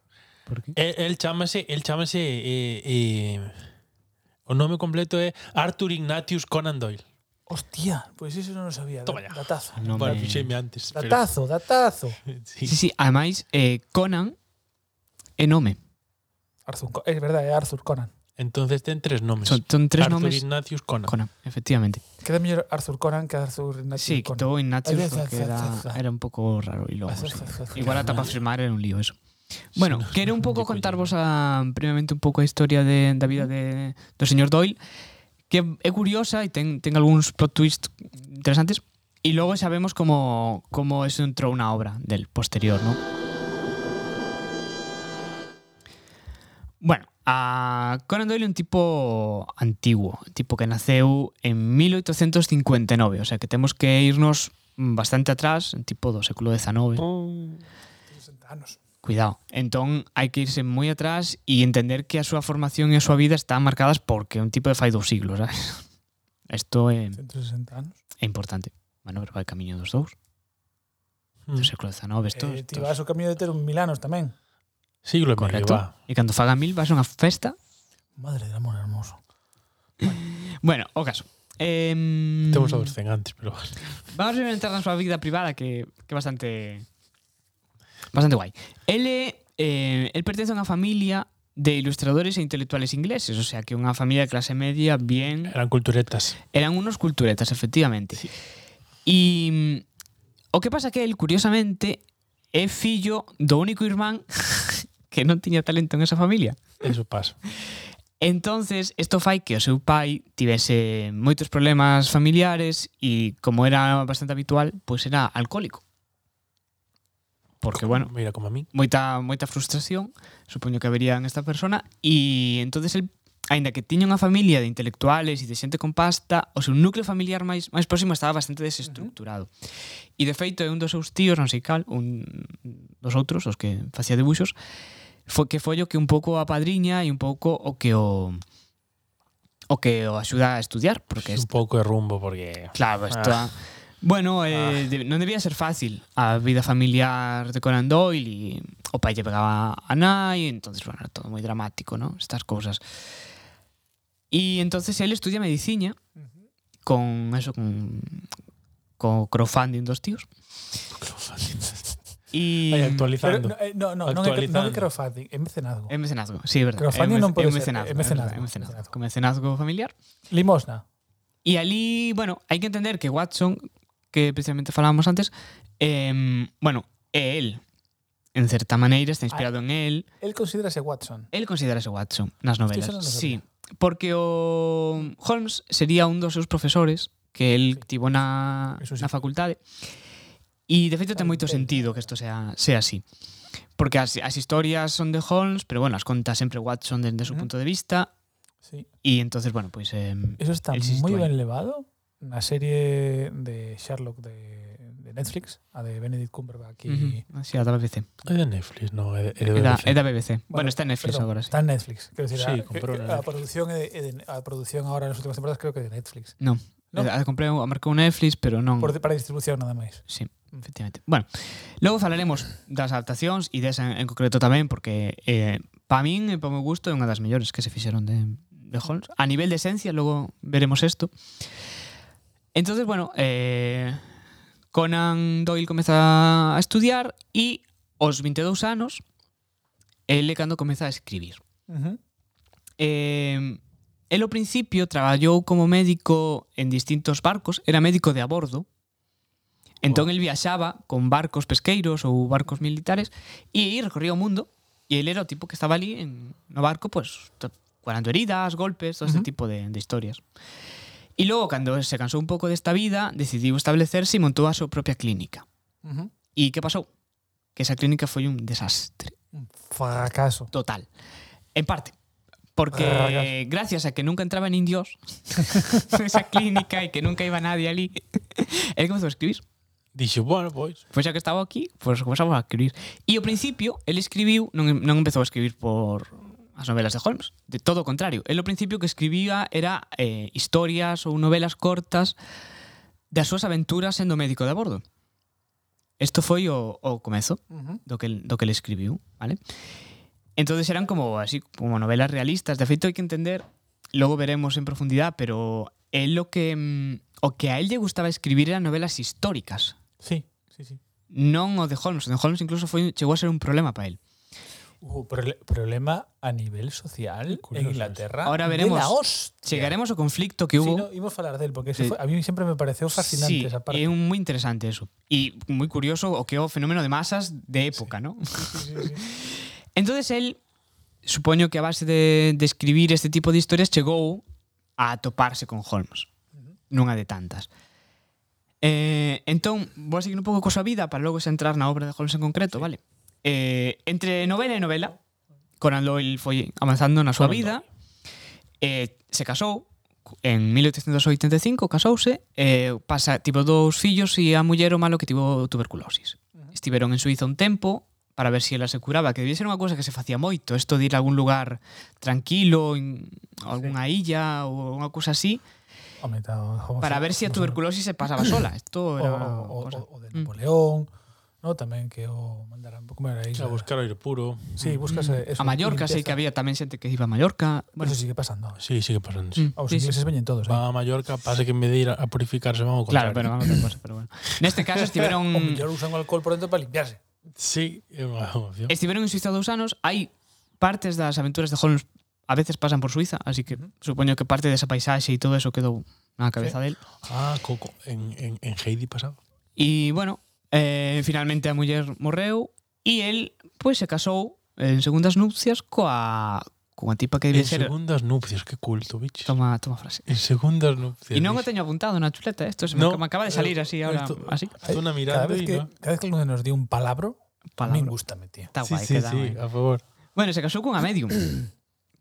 Speaker 2: Por que?
Speaker 3: El, el chamase, el chamase eh, eh, o nome completo é Arthur Ignatius Conan Doyle.
Speaker 4: Hostia, pois pues eso no lo sabía.
Speaker 3: Toma
Speaker 4: da-
Speaker 3: ya.
Speaker 4: Datazo.
Speaker 2: No
Speaker 3: Bueno,
Speaker 2: me-
Speaker 3: fixeime antes. pero-
Speaker 4: Datazo, datazo.
Speaker 3: sí.
Speaker 2: Sí, sí, ademais, eh, Conan é nome.
Speaker 4: Arthur Co- es verdad, é Arthur Conan.
Speaker 3: Entonces ten tres nomes.
Speaker 2: Son, son tres
Speaker 3: Arthur
Speaker 2: nomes.
Speaker 3: Ignatius Conan.
Speaker 2: Conan, efectivamente.
Speaker 4: Queda mellor Arthur Conan que Arthur Ignatius
Speaker 2: Sí,
Speaker 4: Conan. Ah,
Speaker 2: quitou Ignatius
Speaker 4: Ay, ya,
Speaker 2: porque
Speaker 4: ya,
Speaker 2: era,
Speaker 4: ya, ya.
Speaker 2: era un pouco raro. Y luego, sí.
Speaker 4: Arthur-
Speaker 2: Igual ata para firmar era un lío eso. Bueno,
Speaker 3: Sí, no,
Speaker 2: quero un pouco
Speaker 3: digo yo.
Speaker 2: contarvos a, brevemente un pouco a historia de, da vida de, do señor Doyle, que é curiosa e ten, ten algúns plot twist interesantes, e logo sabemos como, como eso entrou na obra del posterior, non? Bueno, a Conan Doyle é un tipo antiguo, tipo que naceu en 1859, e o sea que temos que irnos mm, bastante atrás, en tipo do século XIX.
Speaker 4: anos.
Speaker 2: Cuidado. Entón, hai que irse moi atrás e entender que a súa formación e a súa vida están marcadas porque é un tipo de fai dous siglos, sabes? Isto é,
Speaker 4: 160 anos.
Speaker 2: é importante. Bueno, pero vai camiño dos dous.
Speaker 3: Mm.
Speaker 2: Do século XIX, isto...
Speaker 4: Eh,
Speaker 2: isto-
Speaker 4: ti vas o camiño de ter un mil anos tamén.
Speaker 3: Siglo e medio,
Speaker 2: Correcto.
Speaker 3: va.
Speaker 2: E cando faga mil vas a unha festa.
Speaker 4: Madre del amor hermoso.
Speaker 2: Bueno, o caso. Eh,
Speaker 3: Temos a dos cen antes, pero vale.
Speaker 2: Vamos a entrar na súa vida privada que que é bastante bastante guai. Ele eh, el pertence a unha familia de ilustradores e intelectuales ingleses, o sea que unha familia de clase media bien
Speaker 3: Eran culturetas.
Speaker 2: Eran unos culturetas, efectivamente. E mm, o que pasa que el, curiosamente, é fillo do único irmán que non tiña talento en esa familia.
Speaker 3: Eso pasa.
Speaker 2: Entonces, isto fai que o seu pai tivese moitos problemas familiares e, como era bastante habitual, pois era alcohólico. Porque, bueno,
Speaker 3: Mira como a mí.
Speaker 2: moita moita frustración, supoño que habería en esta persona e entonces el aínda que tiña unha familia de intelectuales e de xente con pasta, o seu núcleo familiar máis máis próximo estaba bastante desestructurado. E de feito é un dos seus tíos, non sei cal, un dos outros, os que facía debuxos, foi que foi o que un pouco a padriña e un pouco o que o o que o axuda a estudiar, porque
Speaker 3: un
Speaker 2: es,
Speaker 3: pouco de rumbo porque
Speaker 2: Claro, esto.
Speaker 4: Ah.
Speaker 2: Bueno, eh, de- non debía ser fácil a vida familiar de Conan Doyle e o pai lle pegaba a nai, entonces, bueno, era todo moi dramático, ¿no? Estas cousas. E entonces él estudia medicina con eso, con, con crowdfunding dos tíos. Y
Speaker 3: vai
Speaker 4: Pero
Speaker 3: actualizando.
Speaker 4: no, eh, no, no, non é que- non é
Speaker 3: Actualizando.
Speaker 4: crowdfunding, é mecenazgo.
Speaker 2: É mecenazgo, sí, é verdade.
Speaker 4: Crowdfunding
Speaker 2: é
Speaker 4: non
Speaker 2: é
Speaker 4: pode ser,
Speaker 2: mecenazgo,
Speaker 4: é mecenazgo,
Speaker 2: é mecenazgo,
Speaker 4: mecenazgo.
Speaker 2: Con mecenazgo familiar.
Speaker 4: Limosna.
Speaker 2: Y allí, bueno, hay que entender que Watson, que precisamente falábamos antes, em, bueno, é él. En certa maneira está inspirado en él.
Speaker 4: El considerase Watson.
Speaker 2: Él considerase Watson nas
Speaker 4: Isto xa non
Speaker 2: novelas.
Speaker 4: o
Speaker 2: Sí, porque o Holmes sería un dos seus profesores que él tivo na,
Speaker 4: Eso sí.
Speaker 2: na facultade. E de feito ten
Speaker 4: Tan
Speaker 2: moito
Speaker 4: ben.
Speaker 2: sentido que isto sea sea así. Porque as, as historias son de Holmes, pero bueno, as conta sempre Watson desde su
Speaker 4: Ujú.
Speaker 2: punto de vista
Speaker 4: Sí.
Speaker 2: e entonces, bueno, pois pues, em,
Speaker 4: Eso está
Speaker 2: El Six
Speaker 4: muy
Speaker 2: Twain.
Speaker 4: bien elevado. La serie de Sherlock de, de Netflix, a de Benedict Cumberbatch y...
Speaker 2: ujú, así a da BBC.
Speaker 3: É de Netflix, no, é de, é de
Speaker 2: É da,
Speaker 3: BBC.
Speaker 2: é da BBC. Bueno, está en Netflix
Speaker 4: perdón,
Speaker 2: agora, sí.
Speaker 4: Está en Netflix. Quiero decir,
Speaker 3: Sí,
Speaker 4: a-
Speaker 3: compró una
Speaker 4: que- a
Speaker 3: Netflix.
Speaker 4: producción, é de- é de- a producción ahora en las últimas temporadas creo que é de Netflix.
Speaker 2: Non.
Speaker 4: No.
Speaker 2: A comprei a marcou Netflix, pero non.
Speaker 4: Por- para distribución nada máis.
Speaker 2: Sí, efectivamente. Bueno, logo falaremos das adaptacións e desa en concreto tamén porque eh, pa min e pa meu gusto é unha das mellores que se fixeron de, de Holmes. A nivel de esencia, logo veremos isto. Entonces, bueno, eh, Conan Doyle comeza a estudiar e aos 22 anos ele cando comeza a escribir.
Speaker 4: Ujú.
Speaker 2: Eh, él ao principio traballou como médico en distintos barcos, era médico de a bordo. Entón el viaxaba con barcos pesqueiros ou barcos militares e recorría o mundo e el era o tipo que estaba ali en no barco, pues, to- curando heridas, golpes, todo este
Speaker 4: Ujú.
Speaker 2: tipo de, de historias. E logo, cando se cansou un pouco desta vida, decidiu establecerse e montou a súa propia clínica.
Speaker 4: Ujú.
Speaker 2: E que pasou? Que esa clínica foi un desastre
Speaker 4: Un fracaso.
Speaker 2: total. En parte. Porque
Speaker 4: Rayos.
Speaker 2: gracias a que nunca entraban indios en esa clínica y que nunca iba nadie allí, él comenzó a escribir.
Speaker 3: Dixo, bueno, pois,
Speaker 2: Pois xa que estaba aquí, pois comenzamos a escribir. E ao principio, el escribiu, non, non empezou a escribir por as novelas de Holmes. De todo o contrario. El ao principio que escribía era eh, historias ou novelas cortas das súas aventuras sendo médico de a bordo. Isto foi o, o comezo
Speaker 4: Ujú.
Speaker 2: do que, do que le escribiu, vale? Entonces eran como así, como novelas realistas. De feito, hai que entender, logo veremos en profundidade, pero él lo que. mm, O que a él lle gustaba escribir eran novelas históricas.
Speaker 4: Sí, sí, sí.
Speaker 2: Non o de Holmes. O de Holmes incluso foi, chegou a ser un problema para él.
Speaker 4: Uh, prole- problema a nivel social en
Speaker 3: curioso
Speaker 4: Inglaterra.
Speaker 2: Ahora
Speaker 4: de
Speaker 2: veremos.
Speaker 4: la hostia.
Speaker 2: Chegaremos ao conflicto que
Speaker 4: Sí,
Speaker 2: hubo.
Speaker 4: no, íbamos a falar de él, porque
Speaker 2: Sí.
Speaker 4: ese fue- a mí siempre me pareció fascinante
Speaker 2: sí,
Speaker 4: esa parte.
Speaker 2: é un moi interesante eso. E moi curioso o que é o fenómeno de masas de época, ¿no? Entonces él, supoño que a base de, de escribir este tipo de historias chegou a toparse con Holmes. Nunha de tantas. Eh, entón, vou a seguir un pouco coa súa vida para logo centrar na obra de Holmes en concreto, vale? Eh, entre novela e novela, Conan Doyle foi avanzando na súa
Speaker 3: Conan
Speaker 2: vida. Eh, se casou en 1885, casouse, eh, pasa, tivo dous fillos e a muller o malo que tivo tuberculosis. Estiveron en Suiza un tempo para ver se ela se curaba, que debía ser unha cousa que se facía moito, isto de ir a algún lugar tranquilo, en algunha illa ou unha cousa así,
Speaker 4: Home, tá, vamos
Speaker 2: para ver se a
Speaker 4: vamos
Speaker 2: tuberculosis se pasaba sola. Isto
Speaker 4: O,
Speaker 2: era
Speaker 4: o- o-
Speaker 2: unha cousa.
Speaker 4: o- o de
Speaker 2: Mm.
Speaker 4: Napoleón, ¿no? Tamén que o mandaran como era a
Speaker 3: A
Speaker 4: isla.
Speaker 3: buscar aire puro.
Speaker 4: Sí, buscas eh,
Speaker 2: Mm.
Speaker 4: eso,
Speaker 2: A Mallorca, sei
Speaker 4: limpieza.
Speaker 2: que había tamén xente que iba a Mallorca. Bueno,
Speaker 4: Bueno, eso sigue pasando.
Speaker 3: Sí, sigue pasando. sí.
Speaker 2: mm,
Speaker 4: A Os
Speaker 2: sí, sí.
Speaker 4: ingleses veñen todos, eh.
Speaker 3: Van a Mallorca, pasa que en vez de ir a a purificarse, van a
Speaker 2: Claro, pero vamos a cosa, pero bueno. Neste caso estiveron
Speaker 4: O mellor usan o alcohol por dentro para limpiarse.
Speaker 3: Sí, é unha opción.
Speaker 2: estiveron en Suiza dous anos, hai partes das aventuras de Holmes a veces pasan por Suiza, así que supoño que parte desa paisaxe e todo eso quedou na cabeza del.
Speaker 3: Ah, Coco, en, en, en Heidi pasaba.
Speaker 2: E bueno, eh, finalmente a muller morreu e el pois se casou en segundas nupcias coa coa tipa que
Speaker 3: En
Speaker 2: debe ser
Speaker 3: segundas nupcias, que culto, bicho.
Speaker 2: toma toma frase.
Speaker 3: En segundas nupcias.
Speaker 2: E non o
Speaker 3: bicho.
Speaker 2: teño apuntado na chuleta, isto se me,
Speaker 3: No,
Speaker 2: me acaba de
Speaker 3: pero
Speaker 2: salir así ahora,
Speaker 3: esto-
Speaker 2: así.
Speaker 3: Estou na mirada
Speaker 4: Cada
Speaker 3: e
Speaker 4: vez, que,
Speaker 3: no.
Speaker 4: cada vez que alguno nos dio un palabro,
Speaker 2: ¿eh? Palabra.
Speaker 4: me gusta, tío.
Speaker 2: Está
Speaker 3: Sí,
Speaker 2: guai,
Speaker 3: sí,
Speaker 2: queda
Speaker 3: sí,
Speaker 2: guai.
Speaker 3: a favor.
Speaker 2: Bueno, se casó con una medium.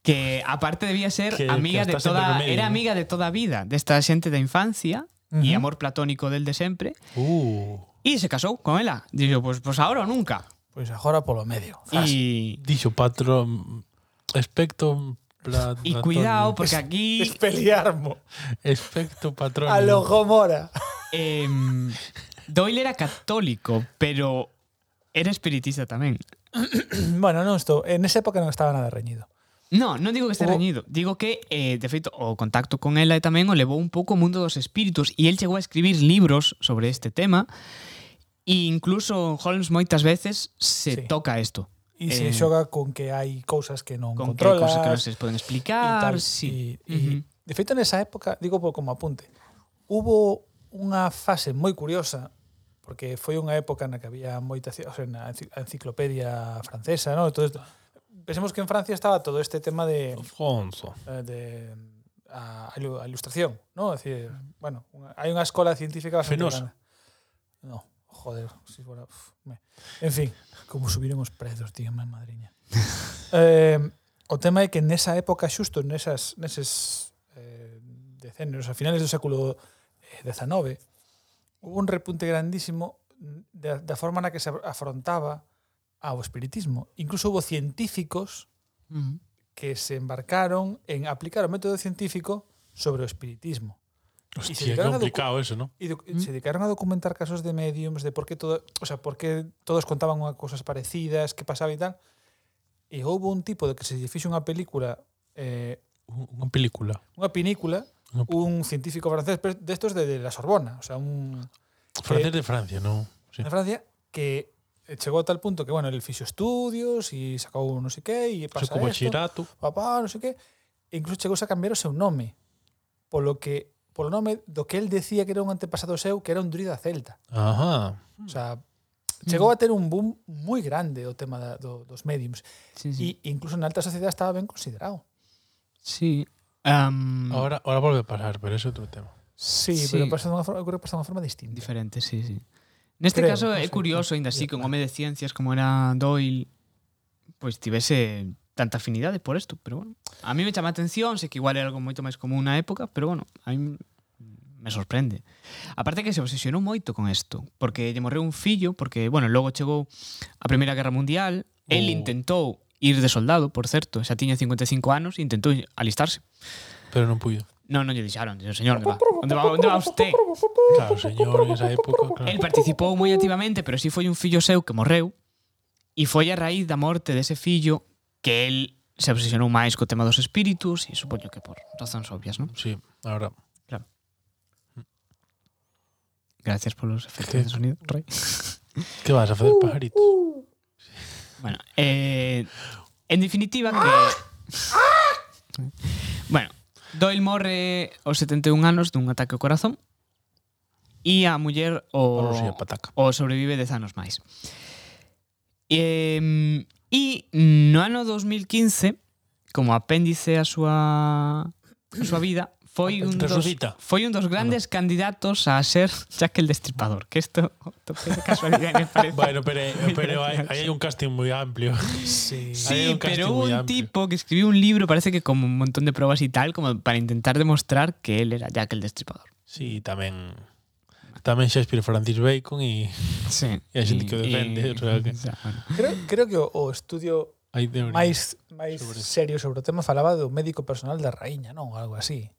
Speaker 2: Que aparte debía ser
Speaker 3: Que- que
Speaker 2: amiga de
Speaker 3: está siempre
Speaker 2: toda.
Speaker 3: con medium,
Speaker 2: Era
Speaker 3: ¿no?
Speaker 2: amiga de toda vida, de esta gente de infancia y
Speaker 4: Ujú.
Speaker 2: amor platónico del de siempre.
Speaker 3: Uh,
Speaker 2: Y se casó con ella. Digo, pues, pues ahora o nunca.
Speaker 4: Pois agora polo medio. Zas.
Speaker 2: Y,
Speaker 3: dixo patro espectro pla-
Speaker 2: y
Speaker 3: platón-
Speaker 2: cuidado, porque aquí.
Speaker 4: Espeliarmo.
Speaker 3: espectro patrón.
Speaker 4: A lo Gomora.
Speaker 2: em, Doyle era católico, pero era espiritista también.
Speaker 4: bueno, non estou, en esa época non estaba nada reñido.
Speaker 2: No, non digo que este
Speaker 4: Hubo-
Speaker 2: reñido. Digo que, eh, de feito, o contacto con ela e tamén o levou un pouco ao mundo dos espíritus e el chegou a escribir libros sobre este tema e incluso Holmes moitas veces se
Speaker 4: Sí.
Speaker 2: toca isto.
Speaker 4: E se
Speaker 2: Eh,
Speaker 4: xoga con que hai cousas que non
Speaker 2: Con que hai
Speaker 4: controlas.
Speaker 2: cousas que non se poden
Speaker 4: e
Speaker 2: explicar,
Speaker 4: tal.
Speaker 2: sí.
Speaker 4: E- e,
Speaker 2: Ujú.
Speaker 4: De feito, nesa época, digo po- como apunte, hubo unha fase moi curiosa porque foi unha época na que había moita ci- o sea, na enci- a enciclopedia francesa, ¿no?
Speaker 2: Ah.
Speaker 4: Todo esto. Pensemos que en Francia estaba todo este tema de
Speaker 3: Fonso.
Speaker 4: eh, de a, a ilu- a ilustración, ¿no? Es decir, bueno, una- hay una escola científica bastante
Speaker 3: Fenosa.
Speaker 4: grande. No, joder, si fuera, uf, me- En fin, como subiron os prezos, tío, máis madriña. eh, o tema é que nesa época xusto nesas neses eh, decenios, a finales do século eh, XIX, hubo un repunte grandísimo da, da forma na que se afrontaba ao espiritismo. Incluso hubo científicos
Speaker 2: Ujú.
Speaker 4: que se embarcaron en aplicar o método científico sobre o espiritismo. se
Speaker 3: Hostia, qué
Speaker 4: dedicaron a docu-
Speaker 3: complicado eso, ¿no?
Speaker 4: E do- se dedicaron a documentar casos de mediums, de por que todo, o sea, por que todos contaban unha cosas parecidas, que pasaba e tal. E houve un tipo de que se lle fixe unha película, eh,
Speaker 3: Un- Unha película.
Speaker 4: unha pinícula,
Speaker 3: Unha pe-
Speaker 4: un científico francés, pero destos de, de la Sorbona, o sea, un Eh,
Speaker 3: Francés de Francia, ¿no? Sí.
Speaker 4: de Francia que chegou a tal punto que, bueno, el fixo estudios e sacou non sei que
Speaker 3: Eso
Speaker 4: e pasa
Speaker 3: como
Speaker 4: esto.
Speaker 3: Chirato.
Speaker 4: papá, non sei que. E incluso chegouse a cambiar o seu nome. Polo que polo nome do que el decía que era un antepasado seu, que era un druida celta.
Speaker 2: Mm.
Speaker 3: Ajá.
Speaker 4: O sea, chegou a ter un boom moi grande o tema da, do, dos mediums.
Speaker 2: Sí, sí.
Speaker 4: E incluso na alta sociedade estaba ben considerado.
Speaker 2: sí. Am,
Speaker 3: Ahora, ahora vuelve a pasar, pero es otro tema.
Speaker 4: Sí,
Speaker 2: Sí.
Speaker 4: pero pasa dunha forma, creo que pasa dunha forma distinta.
Speaker 2: diferente, sí, sí. Neste
Speaker 4: Creo,
Speaker 2: caso
Speaker 4: no
Speaker 2: é
Speaker 4: sé,
Speaker 2: curioso,
Speaker 4: sí,
Speaker 2: ainda así,
Speaker 4: sí,
Speaker 2: que un
Speaker 4: claro.
Speaker 2: home de ciencias como era Doyle pois tivese tanta afinidade por isto, pero bueno. A mí me chama a atención, sei que igual era algo moito máis común na época, pero bueno, a mí me sorprende. Aparte que se obsesionou moito con isto, porque lle morreu un fillo, porque, bueno, logo chegou a Primeira Guerra Mundial, el
Speaker 3: Oh.
Speaker 2: intentou ir de soldado, por certo, xa tiña 55 anos e intentou alistarse.
Speaker 3: Pero no pudo.
Speaker 2: Non, non lle dixaron, dixeron, señor, onde va? Onde va, onde va usted?
Speaker 3: Claro, señor, en esa época.
Speaker 2: El
Speaker 3: Claro.
Speaker 2: participou moi activamente, pero si sí foi un fillo seu que morreu e foi a raíz da morte dese fillo que el se obsesionou máis co tema dos espíritus e supoño que por razóns obvias, non?
Speaker 3: Sí, ahora.
Speaker 2: Claro. Gracias por los efectos
Speaker 3: ¿Qué?
Speaker 2: de sonido, Roy.
Speaker 3: ¿Qué vas a hacer, pajarito?
Speaker 4: Uh.
Speaker 2: Bueno, eh, en definitiva que... Bueno, Doyle morre aos 71 anos dun ataque ao corazón e a muller o,
Speaker 3: Paranoia pataca.
Speaker 2: o sobrevive 10 anos máis. E, e no ano 2015, como apéndice a súa a súa vida, foi un dos,
Speaker 3: Resucita.
Speaker 2: foi un dos grandes candidatos a ser Jack el Destripador, que isto tope de casualidade me parece.
Speaker 3: Bueno, pero, eh, pero hay, ahí hay un casting muy amplio. Sí,
Speaker 2: Sí, pero hubo un tipo que escribió un libro, parece que como un montón de pruebas y tal, como para intentar demostrar que él era Jack el Destripador.
Speaker 3: Sí, tamén tamén Shakespeare, Francis Bacon e
Speaker 2: Sí.
Speaker 3: E hai xente que o defende, o sea que- Eh,
Speaker 4: Creo, creo que o, o estudio
Speaker 3: hai teoría.
Speaker 4: máis máis
Speaker 3: Sobre eso.
Speaker 4: serio sobre o tema falaba do médico personal da raíña, non? Algo así.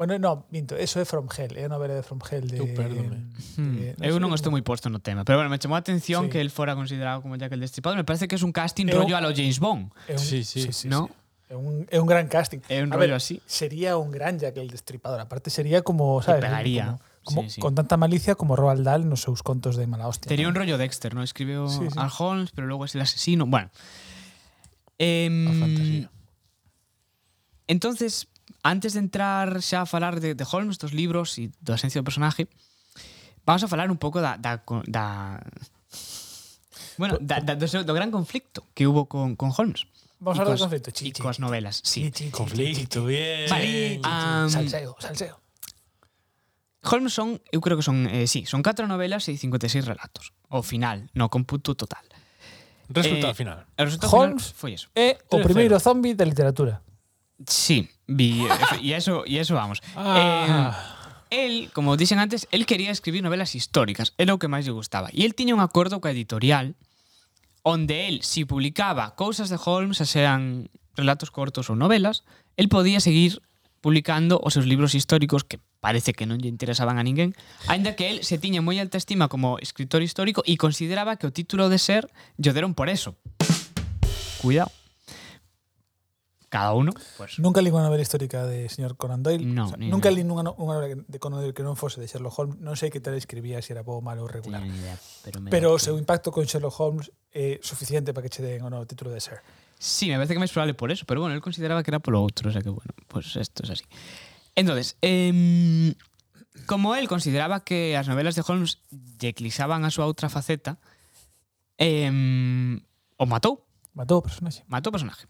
Speaker 4: Bueno, no, minto, eso é From Hell, é a novela de From Hell de...
Speaker 3: Eu pérdome.
Speaker 4: de-
Speaker 2: Hmm. Eu non estou moi posto Eh, no tema, pero bueno, me chamou a atención
Speaker 4: Sí.
Speaker 2: que él fora considerado como Jack el Destripador. Me parece que es un casting
Speaker 4: Eu-
Speaker 2: rollo a lo James Bond,
Speaker 4: É un,
Speaker 3: Sí, sí.
Speaker 2: ¿no?
Speaker 4: É un, é un gran casting.
Speaker 2: É un
Speaker 4: A
Speaker 2: rollo así.
Speaker 4: Sería un gran Jack el Destripador. Aparte sería como, sabes?
Speaker 2: pegaría.
Speaker 4: Como, como
Speaker 2: Sí, sí.
Speaker 4: Con tanta malicia como Roald Dahl nos seus contos de mala hostia.
Speaker 2: Tenía un
Speaker 4: ¿no?
Speaker 2: rollo Dexter, ¿no? Escribió
Speaker 4: Sí, sí.
Speaker 2: a Holmes, pero luego es el asesino. Bueno. Em,
Speaker 3: A fantasía.
Speaker 2: Entonces, antes de entrar xa a falar de, de Holmes, dos libros e da esencia do personaje, vamos a falar un pouco da, da, co- da Bueno, da, da, do, seu, do gran conflicto que hubo con, con Holmes. e
Speaker 4: Vamos a hablar
Speaker 2: coas-
Speaker 4: do conflicto.
Speaker 2: E
Speaker 4: Chi, chi,
Speaker 2: coas novelas, sí. Um,
Speaker 4: chi, chi, chi, chi,
Speaker 3: Conflicto, bien. Eh,
Speaker 2: Vale, am,
Speaker 4: Salseo, salseo.
Speaker 2: Holmes son, eu creo que son, eh, sí, son 4 novelas e 56 relatos. O final, no computo total.
Speaker 3: Resultado
Speaker 2: eh,
Speaker 3: final.
Speaker 2: O resultado
Speaker 4: Holmes-
Speaker 2: final foi eso.
Speaker 4: É o
Speaker 3: 3-0.
Speaker 4: primeiro zombie da literatura.
Speaker 2: Sí, vi, y, a eso, y a eso vamos. Eh,
Speaker 3: Ah,
Speaker 2: El, como dixen antes, el quería escribir novelas históricas, era o que máis lle gustaba. E el tiña un acordo coa editorial onde el, si publicaba cousas de Holmes, xa sean relatos cortos ou novelas, el podía seguir publicando os seus libros históricos que parece que non lle interesaban a ninguén, aínda que el se tiña moi alta estima como escritor histórico e consideraba que o título de ser lle deron por eso. Cuidado. Cada uno, pues,
Speaker 4: Nunca li unha novela histórica de señor Conan Doyle.
Speaker 2: No,
Speaker 4: o sea,
Speaker 2: ni
Speaker 4: nunca
Speaker 2: no.
Speaker 4: li nunha, no- unha novela de Conan Doyle que non fose de Sherlock Holmes. Non sei que tal escribía, se era bo, malo ou
Speaker 2: teño
Speaker 4: regular.
Speaker 2: ni idea, pero, me
Speaker 4: Pero o seu impacto con Sherlock Holmes é suficiente para que che den o no título de ser.
Speaker 2: Sí, me parece que más probable por eso, pero bueno, él consideraba que era por lo otro, o sea que bueno, pues esto es así. Entonces, em, como él consideraba que las novelas de Holmes declisaban a su otra faceta, em, o mató,
Speaker 4: Matou o personaxe.
Speaker 2: mató o personaje.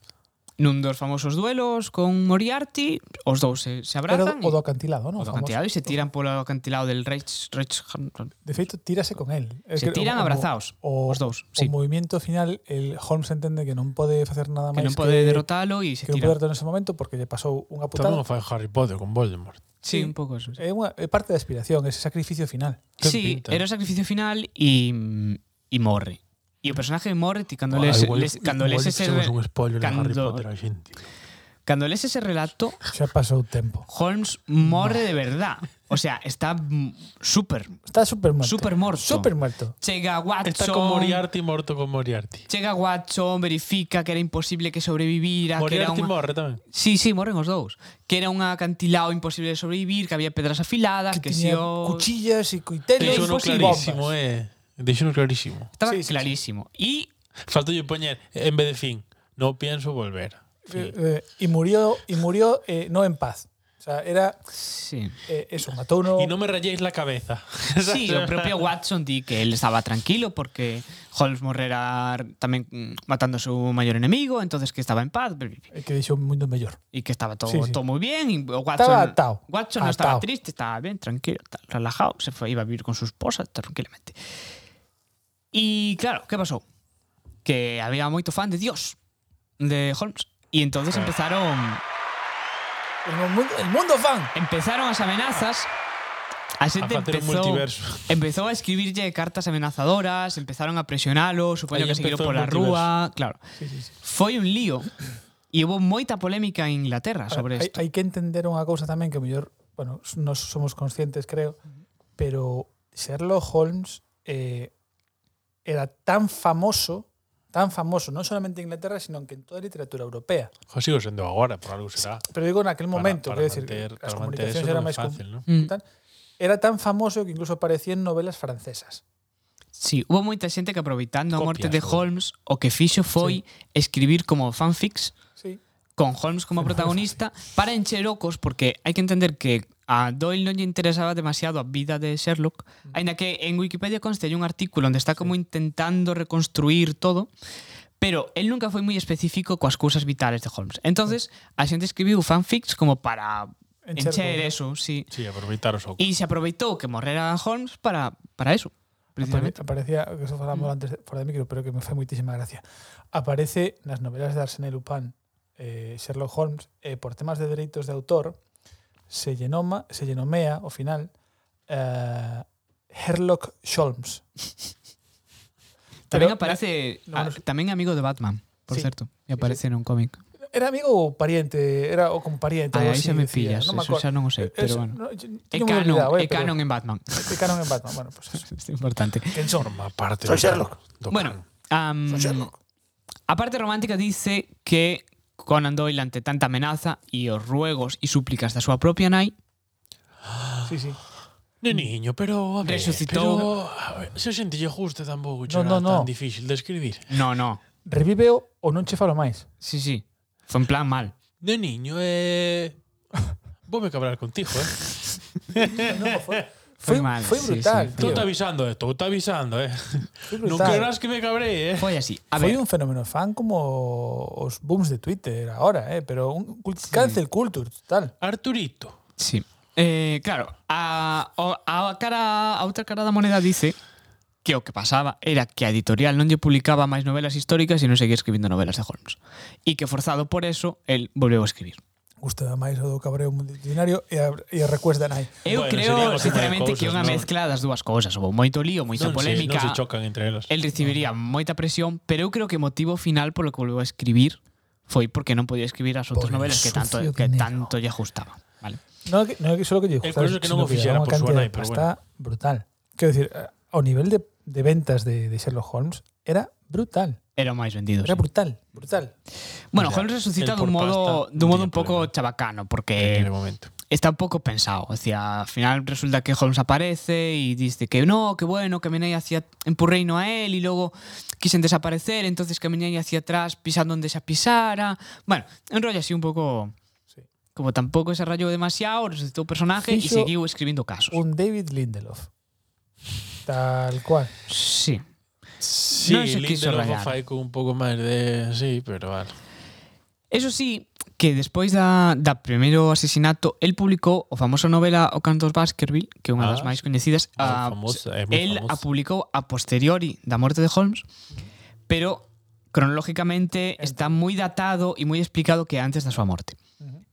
Speaker 2: Nun dos famosos duelos con Moriarty, os dous se, se
Speaker 4: Era
Speaker 2: abrazan
Speaker 4: o do acantilado,
Speaker 2: o
Speaker 4: non?
Speaker 2: do acantilado e se tiran polo acantilado del Reich, Reich
Speaker 4: De feito, tírase con el. É
Speaker 2: se
Speaker 4: que
Speaker 2: tiran
Speaker 4: o- o-
Speaker 2: abrazados
Speaker 4: o-
Speaker 2: os dous,
Speaker 4: O
Speaker 2: sí,
Speaker 4: movimento final, el Holmes entende que non pode facer nada
Speaker 2: que
Speaker 4: máis
Speaker 2: non pode derrotalo e se
Speaker 4: que non pode
Speaker 2: tiran.
Speaker 4: derrotalo nese momento porque lle pasou unha
Speaker 3: tamén o
Speaker 4: putada.
Speaker 3: fai Harry Potter con Voldemort.
Speaker 2: Sí, un pouco eso. sí.
Speaker 4: É, unha, é parte da aspiración, ese sacrificio final.
Speaker 3: Ten
Speaker 2: sí,
Speaker 3: pinta.
Speaker 2: era o sacrificio final e e morre. E o personaje morre ti cando
Speaker 3: Ah,
Speaker 2: les,
Speaker 3: igual-
Speaker 2: les, cando
Speaker 3: igual
Speaker 2: les ese
Speaker 3: fixemos
Speaker 2: re-
Speaker 3: un spoiler de Harry
Speaker 2: cando-
Speaker 3: Potter a xente.
Speaker 2: cando les ese relato,
Speaker 4: Xa pasou o tempo.
Speaker 2: Holmes morre de verdad. O sea, está mm, súper
Speaker 4: Está super muerto.
Speaker 2: Super muerto.
Speaker 4: Super muerto.
Speaker 2: chega
Speaker 3: Está con
Speaker 2: Watson.
Speaker 3: Moriarty morto con Moriarty.
Speaker 2: Chega Watson, verifica que era imposible que sobrevivira, que era
Speaker 3: Moriarty
Speaker 2: unha
Speaker 3: morre tamén.
Speaker 2: Sí, sí, morren os dous. Que era un acantilado imposible de sobrevivir, que había pedras
Speaker 3: Ah,
Speaker 2: afiladas, que,
Speaker 4: que,
Speaker 2: si
Speaker 4: tiña
Speaker 3: oh.
Speaker 2: o...
Speaker 4: cuchillas e cuiteles
Speaker 3: Deixo
Speaker 2: Deixouno
Speaker 3: no
Speaker 4: e
Speaker 3: clarísimo, eh.
Speaker 4: bombas.
Speaker 3: Deixo no clarísimo.
Speaker 2: Estaba
Speaker 4: Sí, sí, sí.
Speaker 2: clarísimo. E
Speaker 3: Falta yo poñer, en vez de fin, no pienso volver.
Speaker 4: Eh,
Speaker 3: Fin.
Speaker 4: eh, e murió e murió eh, no en paz. O sea, era
Speaker 2: sí.
Speaker 4: eh, eso, matou no,
Speaker 3: Y no me rayéis la cabeza.
Speaker 2: Sí, o propio Watson di que él estaba tranquilo porque Holmes morrera tamén mm, matando a seu maior enemigo, entonces que estaba en paz e
Speaker 4: eh, que deixou un mundo mellor.
Speaker 2: que estaba todo,
Speaker 4: Sí, sí.
Speaker 2: todo moi bien. Y o Watson,
Speaker 4: Estaba atao.
Speaker 2: Watson non estaba
Speaker 4: Atao.
Speaker 2: triste, estaba bien, tranquilo, tal, relajado, se foi, iba a vivir con su esposa tranquilamente. E claro, que pasou? Que había moito fan de Dios de Holmes. E entonces empezaron
Speaker 4: El mundo, el mundo fan.
Speaker 2: empezaron as amenazas a
Speaker 3: A
Speaker 2: xente
Speaker 3: facer un
Speaker 2: empezou
Speaker 3: multiverso.
Speaker 2: empezou a escribirlle cartas amenazadoras, empezaron a presionalo, supoño
Speaker 3: Aí
Speaker 2: que seguiron
Speaker 3: empezou o
Speaker 2: pola
Speaker 3: multiverso.
Speaker 2: rúa, claro.
Speaker 4: Sí, sí, sí.
Speaker 2: Foi un lío e houve moita polémica en Inglaterra sobre
Speaker 4: hai,
Speaker 2: isto.
Speaker 4: hai que entender unha cousa tamén que mellor, bueno, nos somos conscientes, creo, pero Sherlock Holmes eh, era tan famoso tan famoso, non solamente en Inglaterra, sino que en toda a literatura europea.
Speaker 3: Jo, sigo sendo agora, por algo será.
Speaker 4: Pero digo en aquel
Speaker 3: Para-
Speaker 4: momento,
Speaker 3: para
Speaker 4: quiero decir,
Speaker 3: manter- para
Speaker 4: que las
Speaker 3: manter
Speaker 4: comunicaciones
Speaker 3: eso
Speaker 4: eran
Speaker 3: no es
Speaker 4: más com-
Speaker 3: fácil, ¿no?
Speaker 2: Mm.
Speaker 4: tal. Era tan famoso que incluso aparecía en novelas francesas.
Speaker 2: Sí, hubo moita xente que aproveitando a morte
Speaker 3: Copias,
Speaker 2: de
Speaker 3: ¿no?
Speaker 2: Holmes o que fixo foi escribir como fanfics
Speaker 4: Sí.
Speaker 2: con Holmes como protagonista para encher ocos porque hai que entender que a Doyle non lle interesaba demasiado a vida de Sherlock, aínda que en Wikipedia conste hai un artículo onde está como intentando reconstruir todo, pero él nunca foi moi específico coas cousas vitales de Holmes. Entonces, a xente escribiu fanfics como para
Speaker 4: Encher
Speaker 2: encher
Speaker 4: ocos, ¿no?
Speaker 2: eso, sí.
Speaker 3: Sí, aproveitar os ocos.
Speaker 2: E se aproveitou que morrera Holmes para para eso,
Speaker 4: Apare-
Speaker 2: precisamente.
Speaker 4: Aparecía, que eso falamos antes de- fora de micro, pero que me fue muchísima gracia. Aparece nas novelas de Arsène Lupin, eh, Sherlock Holmes, eh, por temas de dereitos de autor, se llenoma, se llenomea, ao final, eh, Herlock Sholmes.
Speaker 2: Tamén
Speaker 4: Pero-
Speaker 2: aparece
Speaker 4: no,
Speaker 2: a-
Speaker 4: no sé.
Speaker 2: tamén é amigo de Batman, por
Speaker 4: Sí.
Speaker 2: certo, e aparece nun cómic.
Speaker 4: Era amigo ou pariente, era o como pariente.
Speaker 2: Aí
Speaker 4: algo
Speaker 2: aí
Speaker 4: así
Speaker 2: xa me
Speaker 4: decía,
Speaker 2: pillas,
Speaker 4: non me
Speaker 2: eso xa
Speaker 4: acuerdo.
Speaker 2: non o sei, pero
Speaker 4: Eso,
Speaker 2: bueno.
Speaker 4: no, yo-
Speaker 2: É
Speaker 4: yo me he
Speaker 2: canon,
Speaker 4: olvidado, eh,
Speaker 2: é
Speaker 4: pero-
Speaker 2: canon en Batman.
Speaker 4: é canon en Batman. Bueno, pues eso.
Speaker 2: Isto é importante.
Speaker 4: ¿Quién son?
Speaker 3: Forma parte
Speaker 4: Soy
Speaker 3: do-
Speaker 4: Sherlock.
Speaker 3: do
Speaker 2: Bueno, am,
Speaker 4: Son Sherlock.
Speaker 2: a parte romántica dice que Conan Doyle ante tanta amenaza e os ruegos e súplicas da súa propia nai
Speaker 4: Sí, sí.
Speaker 3: De niño, pero a ver,
Speaker 2: Resucitou.
Speaker 3: pero, a ver, se o xentille gusta tampouco no,
Speaker 4: No, no,
Speaker 3: no,
Speaker 4: no.
Speaker 3: tan difícil de escribir.
Speaker 2: No, no,
Speaker 4: Reviveo ou non che falo máis.
Speaker 2: sí, sí Foi en plan mal
Speaker 3: De niño, eh... Vou me cabrar contigo, eh.
Speaker 4: No, foi,
Speaker 2: Foi
Speaker 4: foi,
Speaker 2: mal,
Speaker 4: foi
Speaker 2: sí,
Speaker 4: brutal,
Speaker 2: sí.
Speaker 4: tío.
Speaker 3: Tú te avisando, eh. Tú te avisando, eh.
Speaker 4: Foi
Speaker 3: Non
Speaker 4: brutal.
Speaker 3: querrás que me cabré, eh.
Speaker 2: Foi así A
Speaker 4: foi
Speaker 2: ver,
Speaker 4: un fenómeno fan como os booms de Twitter ahora, eh, pero un cult- cancel culture total.
Speaker 3: Arturito.
Speaker 2: sí eh, Claro, a, o- a, cara, a outra cara da moneda dice que o que pasaba era que a editorial non lle publicaba máis novelas históricas e non seguía escribindo novelas de Holmes e que forzado por eso, el volveu a escribir
Speaker 4: Gusta máis o do cabreo multitudinario e a, e a recuesta nai.
Speaker 2: Eu
Speaker 3: Bueno, sería
Speaker 2: creo,
Speaker 3: outra
Speaker 2: sinceramente,
Speaker 3: cousas,
Speaker 2: que é unha
Speaker 3: non?
Speaker 2: mezcla das dúas cousas. Houve moito lío, moita
Speaker 3: Non se, non
Speaker 2: polémica.
Speaker 3: se chocan entre elas.
Speaker 2: el recibiría moita presión, pero eu creo que o motivo final polo que volveu a escribir foi porque non podía escribir as outras
Speaker 4: Por el
Speaker 2: novelas que tanto
Speaker 4: sucio
Speaker 2: que
Speaker 4: dinero.
Speaker 2: tanto lle ajustaban, vale?
Speaker 4: No é que, non é que solo que lle
Speaker 3: É
Speaker 4: gustara,
Speaker 3: curioso que non
Speaker 4: sino
Speaker 3: o fixera
Speaker 4: era unha
Speaker 3: por súa
Speaker 4: cantidad
Speaker 3: nai,
Speaker 4: de
Speaker 3: pero
Speaker 4: pasta brutal. Quero dicir, eh, ao nivel de, de ventas de, de Sherlock Holmes era brutal.
Speaker 2: Era o máis vendido.
Speaker 4: Era
Speaker 2: Sí.
Speaker 4: brutal, brutal.
Speaker 2: Bueno,
Speaker 3: Mira,
Speaker 2: Holmes resucita
Speaker 3: el
Speaker 2: dun
Speaker 3: por
Speaker 2: modo
Speaker 3: pasta
Speaker 2: dun modo
Speaker 3: tiene
Speaker 2: un pouco
Speaker 3: problema.
Speaker 2: chabacano,
Speaker 3: En
Speaker 2: porque
Speaker 3: el momento.
Speaker 2: está un pouco pensado. O sea, al final resulta que Holmes aparece y dice que no, que bueno, caminé hacia empurreino a él y luego quisen desaparecer, entonces caminé hacia atrás pisando donde se pisara. Bueno, un rollo así un poco
Speaker 4: Sí.
Speaker 2: como tampoco se rayó demasiado, resucitó o personaje y
Speaker 4: Fixo
Speaker 2: siguió escribiendo casos.
Speaker 4: Un David Lindelof. Tal cual.
Speaker 2: Sí.
Speaker 3: Sí,
Speaker 2: non se quiso rayar.
Speaker 3: Lindelof fai con un pouco máis de... Sí, pero ah, vale.
Speaker 2: Eso sí, que despois da, da primeiro asesinato, el publicou o famoso novela O Cantos Baskerville, que é unha
Speaker 3: Ah,
Speaker 2: das máis coñecidas. a-
Speaker 3: Ah, famosa, é moi
Speaker 2: El
Speaker 3: famosa.
Speaker 2: a publicou a posteriori da morte de Holmes, pero cronológicamente está moi datado e moi explicado que é antes da súa morte.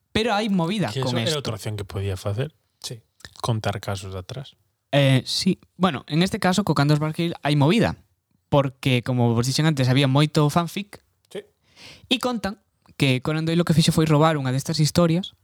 Speaker 2: Pero hai movida
Speaker 3: Que
Speaker 2: con
Speaker 3: eso
Speaker 2: esto.
Speaker 3: era outra opción que podía facer.
Speaker 4: Sí.
Speaker 3: Contar casos de atrás.
Speaker 2: Eh, sí, bueno, en este caso co Cantos Barquil hai movida, porque como vos dixen antes, había moito fanfic.
Speaker 4: Sí.
Speaker 2: E contan que Conan Doyle o que fixo foi robar unha destas historias,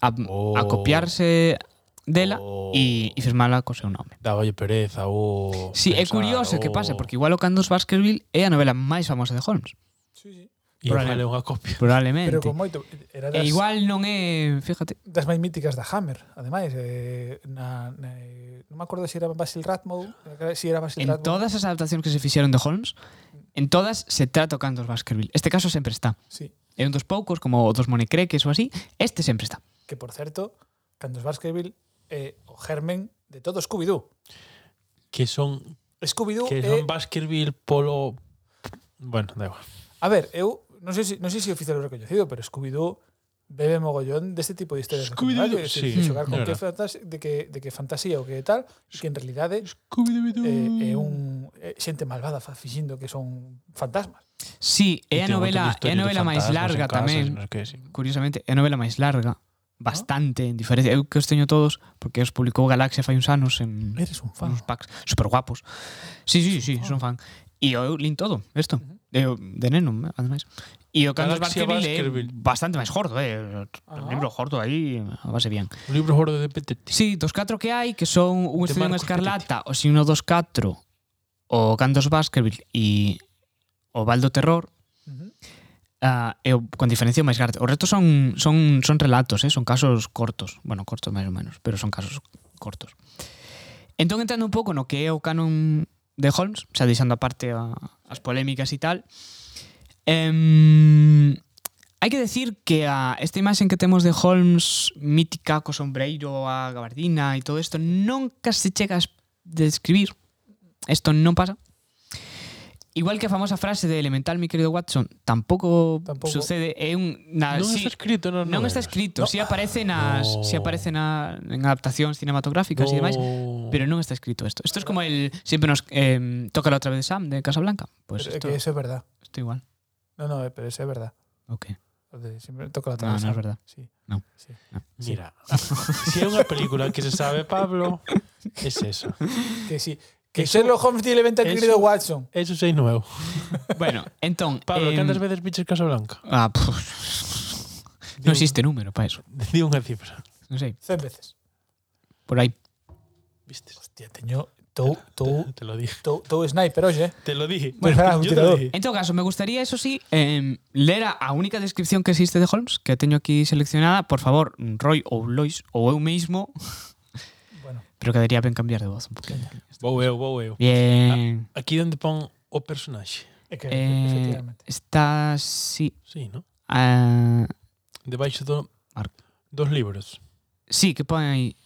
Speaker 2: a,
Speaker 3: Oh.
Speaker 2: a copiarse dela
Speaker 3: Oh.
Speaker 2: e, e firmala co seu nome.
Speaker 3: Daballe pereza ou...
Speaker 2: Sí, é curioso que pase, porque igual o Cantos Baskerville é a novela máis famosa de Holmes,
Speaker 4: Sí, sí.
Speaker 3: E vale unha copia.
Speaker 2: probablemente.
Speaker 4: Pero con moito era
Speaker 2: E
Speaker 4: das,
Speaker 2: igual non é, fíjate,
Speaker 4: das máis míticas da Hammer, ademais, eh, na, na, non me acordo se era Basil Rathbone, si era Basil
Speaker 2: en
Speaker 4: Rathbone.
Speaker 2: todas as adaptacións que se fixeron de Holmes, en todas se trata o Cantos Baskerville. Este caso sempre está.
Speaker 4: Sí,
Speaker 2: É un dos poucos, como outros monecreques ou así, este sempre está.
Speaker 4: que por certo, Cantos Baskerville é eh, o germen de todo Scooby-Doo.
Speaker 3: Que son...
Speaker 4: Scooby-Doo
Speaker 3: Que
Speaker 4: é...
Speaker 3: son Baskerville polo... Bueno, da igual.
Speaker 4: A ver, eu non sei se non sei se oficial ou recoñecido, pero Scooby-Doo bebe mogollón deste tipo de historias.
Speaker 3: Scooby-Doo,
Speaker 4: de,
Speaker 3: sí,
Speaker 4: de xogar con
Speaker 3: é
Speaker 4: que
Speaker 3: verdad.
Speaker 4: fantasía, de que de que fantasía ou que tal, e que en realidade eh,
Speaker 3: Scooby-Doo.
Speaker 2: Eh,
Speaker 4: é, é un é xente malvada fa- fixindo que son fantasmas.
Speaker 2: Sí, é a novela, é a novela máis larga tamén.
Speaker 3: No, que, sí.
Speaker 2: Curiosamente, é a novela máis
Speaker 4: Ah.
Speaker 2: larga. Bastante, en diferencia. Eu que os teño todos, porque os publicou Galaxia fai uns anos en
Speaker 4: Eres un fan.
Speaker 2: uns packs super guapos. Sí, sí, sí, son fan. E eu lin todo, isto. Eu, de neno, ademais. E o Carlos
Speaker 3: Galaxia
Speaker 2: Baskerville é
Speaker 3: Baskerville.
Speaker 2: bastante máis jordo, eh. O libro jordo aí, a base bien.
Speaker 3: O libro gordo de Petete.
Speaker 2: Sí, dos catro que hai, que son un
Speaker 3: De
Speaker 2: estudio en
Speaker 3: Marcos
Speaker 2: escarlata, o signo dos catro, o Cantos Baskerville e o o Baldo Terror, ah, e o, con diferencia o máis grande. O resto son, son, son relatos, eh? son casos cortos. Bueno, cortos máis ou menos, pero son casos cortos. Entón, entrando un pouco no que é o canon de Holmes, xa deixando aparte a, as polémicas e tal, em, hai que decir que a esta imaxe que temos de Holmes mítica co sombreiro, a gabardina e todo isto, nunca se chega a es- describir. Isto non pasa. Igual que a famosa frase de Elemental, mi querido Watson, tampouco,
Speaker 4: Tampouco.
Speaker 2: sucede. É un, na,
Speaker 3: non
Speaker 2: Ah, sí,
Speaker 3: está escrito, non,
Speaker 2: non está escrito, si aparece nas,
Speaker 3: No.
Speaker 2: si aparece na, en adaptacións cinematográficas e demais, pero non está escrito isto. Isto es como el siempre nos eh, toca la otra vez de Sam de Casablanca, pues
Speaker 4: Pero es
Speaker 2: esto,
Speaker 4: que eso es verdad.
Speaker 2: esto igual.
Speaker 4: No, no, eh, pero eso es verdad.
Speaker 2: Ok.
Speaker 4: Lo de Siempre toco la
Speaker 2: No, no
Speaker 4: cabeza.
Speaker 2: es verdad.
Speaker 4: Sí.
Speaker 2: No.
Speaker 4: Sí.
Speaker 3: Mira, si é unha película que se sabe Pablo, es eso.
Speaker 4: Que sí. Que
Speaker 3: Eso-
Speaker 4: Sherlock Holmes tiene venta
Speaker 3: eso-
Speaker 4: querido Watson.
Speaker 3: Eso sei nuevo.
Speaker 2: Bueno, entón,
Speaker 3: Pablo,
Speaker 2: em,
Speaker 3: cantas veces piches Casablanca?
Speaker 2: Ah, pff,
Speaker 3: Di
Speaker 2: non
Speaker 3: un-
Speaker 2: existe número para eso.
Speaker 3: Di unha cifra.
Speaker 2: Non sei,
Speaker 4: Cien veces.
Speaker 2: por aí.
Speaker 3: Vistes?
Speaker 4: Hostia, teño... Tou, tou,
Speaker 3: Te, te lo dije.
Speaker 4: tou, tou sniper, oye.
Speaker 3: Te lo dije.
Speaker 4: Bueno, espera, un
Speaker 3: yo te lo
Speaker 4: tirador.
Speaker 3: dije.
Speaker 2: En todo caso, me gustaría, eso sí, em, ler a, a única descripción que existe de Holmes, que teño aquí seleccionada, por favor, Roy ou Lois ou eu mesmo,
Speaker 4: Bueno,
Speaker 2: pero que debería ben cambiar de voz un poquinho.
Speaker 3: Vou eu, vou eu.
Speaker 2: Bien.
Speaker 3: Aquí onde pon o personaxe.
Speaker 4: é
Speaker 2: Eh,
Speaker 4: que efectivamente.
Speaker 2: está así.
Speaker 3: Sí, ¿no?
Speaker 2: Ah,
Speaker 3: Debaixo do,
Speaker 2: Ar-
Speaker 3: dos libros.
Speaker 2: sí, que pon aí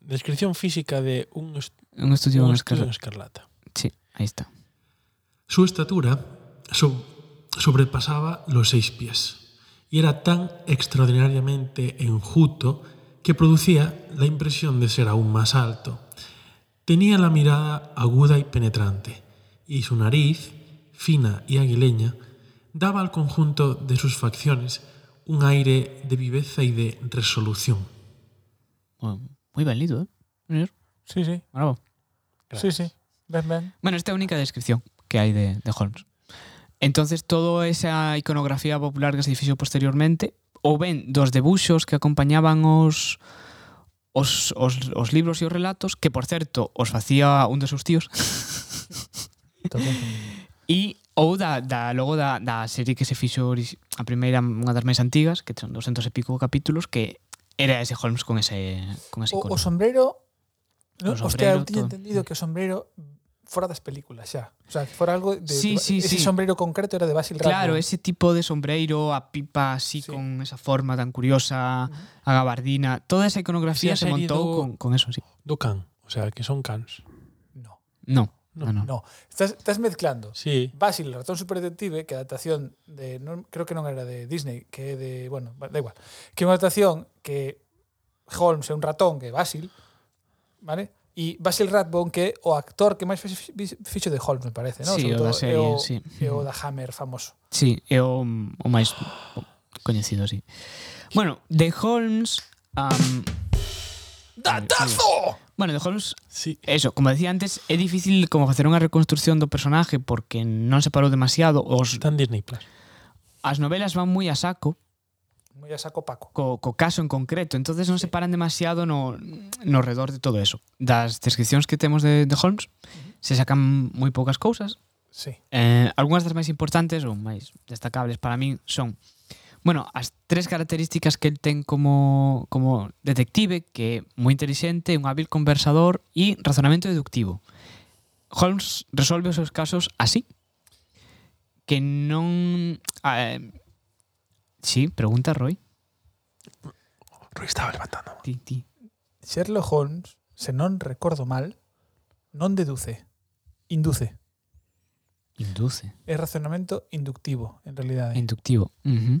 Speaker 3: Descripción física de un, est
Speaker 2: un estudio
Speaker 3: un
Speaker 2: en
Speaker 3: estudio en
Speaker 2: escala.
Speaker 3: escarlata.
Speaker 2: Sí, ahí está.
Speaker 3: Su estatura so- sobrepasaba los seis pies y era tan extraordinariamente enjuto que producía la impresión de ser aún más alto. Tenía la mirada aguda y penetrante y su nariz, fina y aguileña, daba al conjunto de sus facciones un aire de viveza y de resolución.
Speaker 2: Bueno, moi válido, eh? Mirar,
Speaker 4: Sí, sí.
Speaker 2: Bravo.
Speaker 4: Sí, sí. Ven, ven.
Speaker 2: Bueno, esta é a única descripción que hai de, de Holmes. Entonces, toda esa iconografía popular que se fixo posteriormente, ou ben dos debuxos que acompañaban os os, os, os libros e os relatos, que, por certo, os facía un dos seus tíos, E ou da, da logo da, da serie que se fixo ori- a primeira, unha das máis antigas, que son 200 e pico capítulos, que era ese Holmes con ese con ese
Speaker 4: O,
Speaker 2: icono.
Speaker 4: o sombrero... No,
Speaker 2: O sombrero,
Speaker 4: hostia, eu tiña
Speaker 2: todo.
Speaker 4: entendido que o sombrero fora das películas xa. O sea, que fora algo de...
Speaker 2: Sí,
Speaker 4: de-
Speaker 2: sí, sí.
Speaker 4: ese sombrero concreto era de Basil
Speaker 2: claro,
Speaker 4: Rathbone.
Speaker 2: ese tipo de sombreiro, a pipa así
Speaker 4: Sí.
Speaker 2: con esa forma tan curiosa, a gabardina, toda esa iconografía
Speaker 3: Sí, a
Speaker 2: se
Speaker 3: serie
Speaker 2: montou
Speaker 3: do-
Speaker 2: con, con eso, sí.
Speaker 3: Do can, o sea, que son cans.
Speaker 4: No,
Speaker 2: No, no, no.
Speaker 4: no. Estás, estás mezclando.
Speaker 3: Sí,
Speaker 4: Basil, el ratón superdetective, que é a adaptación de non, creo que non era de Disney, que é de, bueno, da igual. Que é unha adaptación que Holmes é un ratón que é Basil, vale? E Basil Rathbone que é o actor que máis fixo- fixo de Holmes, me parece, non?
Speaker 2: Sí,
Speaker 4: Sobre
Speaker 2: o da
Speaker 4: todo,
Speaker 2: serie,
Speaker 4: é o,
Speaker 2: sí.
Speaker 4: É o da Hammer famoso.
Speaker 2: Sí, é o, o máis coñecido, sí. Bueno, de Holmes... Um,
Speaker 4: ¡Datazo!
Speaker 2: bueno, de Holmes
Speaker 3: sí.
Speaker 2: Eso, como decía antes, é difícil como facer unha reconstrucción do personaje porque non se parou demasiado. Os,
Speaker 3: Está en Disney Plus.
Speaker 2: as novelas van moi a saco
Speaker 4: Moi a saco Paco.
Speaker 2: co, co caso en concreto, entonces non se paran demasiado no, no redor de todo eso. Das descripcións que temos de, de Holmes se sacan moi poucas cousas.
Speaker 4: Sí.
Speaker 2: Eh, algunhas das máis importantes ou máis destacables para min son Bueno, as tres características que el ten como, como detective, que é moi inteligente, un hábil conversador e razonamento deductivo. Holmes resolve os seus casos así, que non... Ah, eh, sí, pregunta Roy.
Speaker 3: Rui estaba levantando.
Speaker 2: Ti, ti.
Speaker 4: Sherlock Holmes, se non recordo mal, non deduce, induce.
Speaker 2: Induce.
Speaker 4: É razonamento inductivo, en realidade.
Speaker 2: Inductivo. Uh -huh.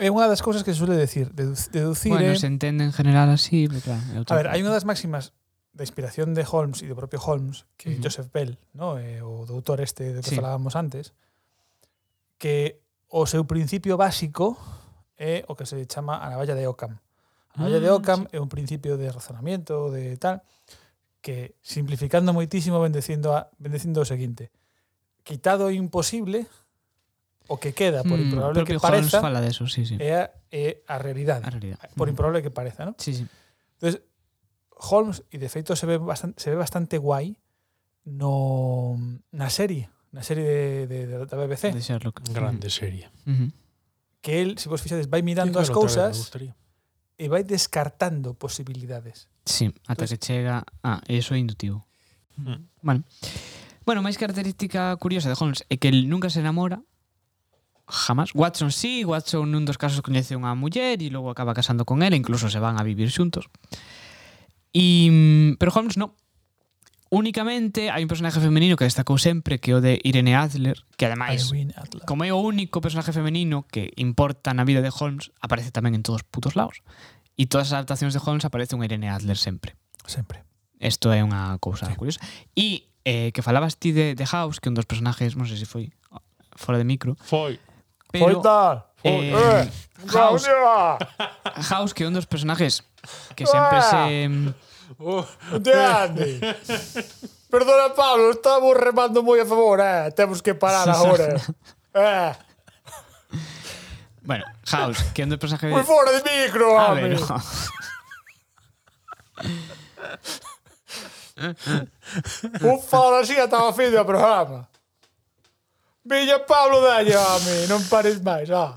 Speaker 4: É unha das cousas que se suele decir. Deduc- Deducir
Speaker 2: bueno,
Speaker 4: é-
Speaker 2: se entende en general así, pero claro, é outra
Speaker 4: A ver, hai
Speaker 2: cousa.
Speaker 4: unha das máximas da inspiración de Holmes e do propio Holmes, que é
Speaker 2: Ujú.
Speaker 4: Joseph Bell, no? eh, o doutor este do que
Speaker 2: Sí.
Speaker 4: falábamos antes, que o seu principio básico é o que se chama a navalla de Ockham. A navalla de
Speaker 3: Ah,
Speaker 4: Ockham é un principio de razonamiento, de tal, que simplificando moitísimo bendecindo, a, bendecindo o seguinte. Quitado o imposible, o que queda por
Speaker 2: Mm,
Speaker 4: improbable que
Speaker 2: propio Holmes
Speaker 4: pareza,
Speaker 2: fala de eso, sí, sí.
Speaker 4: é a, é a realidade.
Speaker 2: A realidad.
Speaker 4: Por
Speaker 2: Mm.
Speaker 4: improbable que pareza, ¿no?
Speaker 2: Sí, sí.
Speaker 4: Entonces, Holmes, e de feito se ve bastante, se ve bastante guai no, na serie, na serie de, de, de- da BBC,
Speaker 2: de Sherlock.
Speaker 3: Grande serie.
Speaker 2: Ujú.
Speaker 4: que él, se vos fixades, vai
Speaker 3: Quero
Speaker 4: mirando as
Speaker 3: ver outra vez, me
Speaker 4: cousas
Speaker 3: gustaría.
Speaker 4: e vai descartando posibilidades.
Speaker 2: Sí, ata
Speaker 4: Pois-
Speaker 2: que chega... Ah, eso é indutivo.
Speaker 3: Mm.
Speaker 2: Vale. Bueno, máis característica curiosa de Holmes é que el nunca se enamora jamás. Watson sí, Watson nun dos casos coñece unha muller e logo acaba casando con ela, incluso se van a vivir xuntos. E, mm, pero Holmes no. Únicamente hai un personaje femenino que destacou sempre que é o de Irene Adler, que ademais
Speaker 4: Irene Adler.
Speaker 2: como é o único personaje femenino que importa na vida de Holmes, aparece tamén en todos putos lados. E todas as adaptacións de Holmes aparece unha Irene Adler sempre.
Speaker 4: Sempre.
Speaker 2: Isto é unha cousa
Speaker 4: Sí.
Speaker 2: curiosa. E eh, que falabas ti de, de House, que un dos personajes, non sei se foi fora de micro,
Speaker 3: Foi.
Speaker 2: pero
Speaker 4: Foita,
Speaker 2: eh, House, House, que é un dos personajes que sempre se... Eh.
Speaker 4: Andy. Perdona, Pablo, estamos remando moi a favor, eh. Temos que parar agora. Eh,
Speaker 2: Bueno, House, que é un dos personajes...
Speaker 4: fora de
Speaker 2: Eh.
Speaker 4: micro,
Speaker 2: A ver, no.
Speaker 4: Un fala así ata o fin do programa. Viña Pablo dalle, home, non pares máis, ah.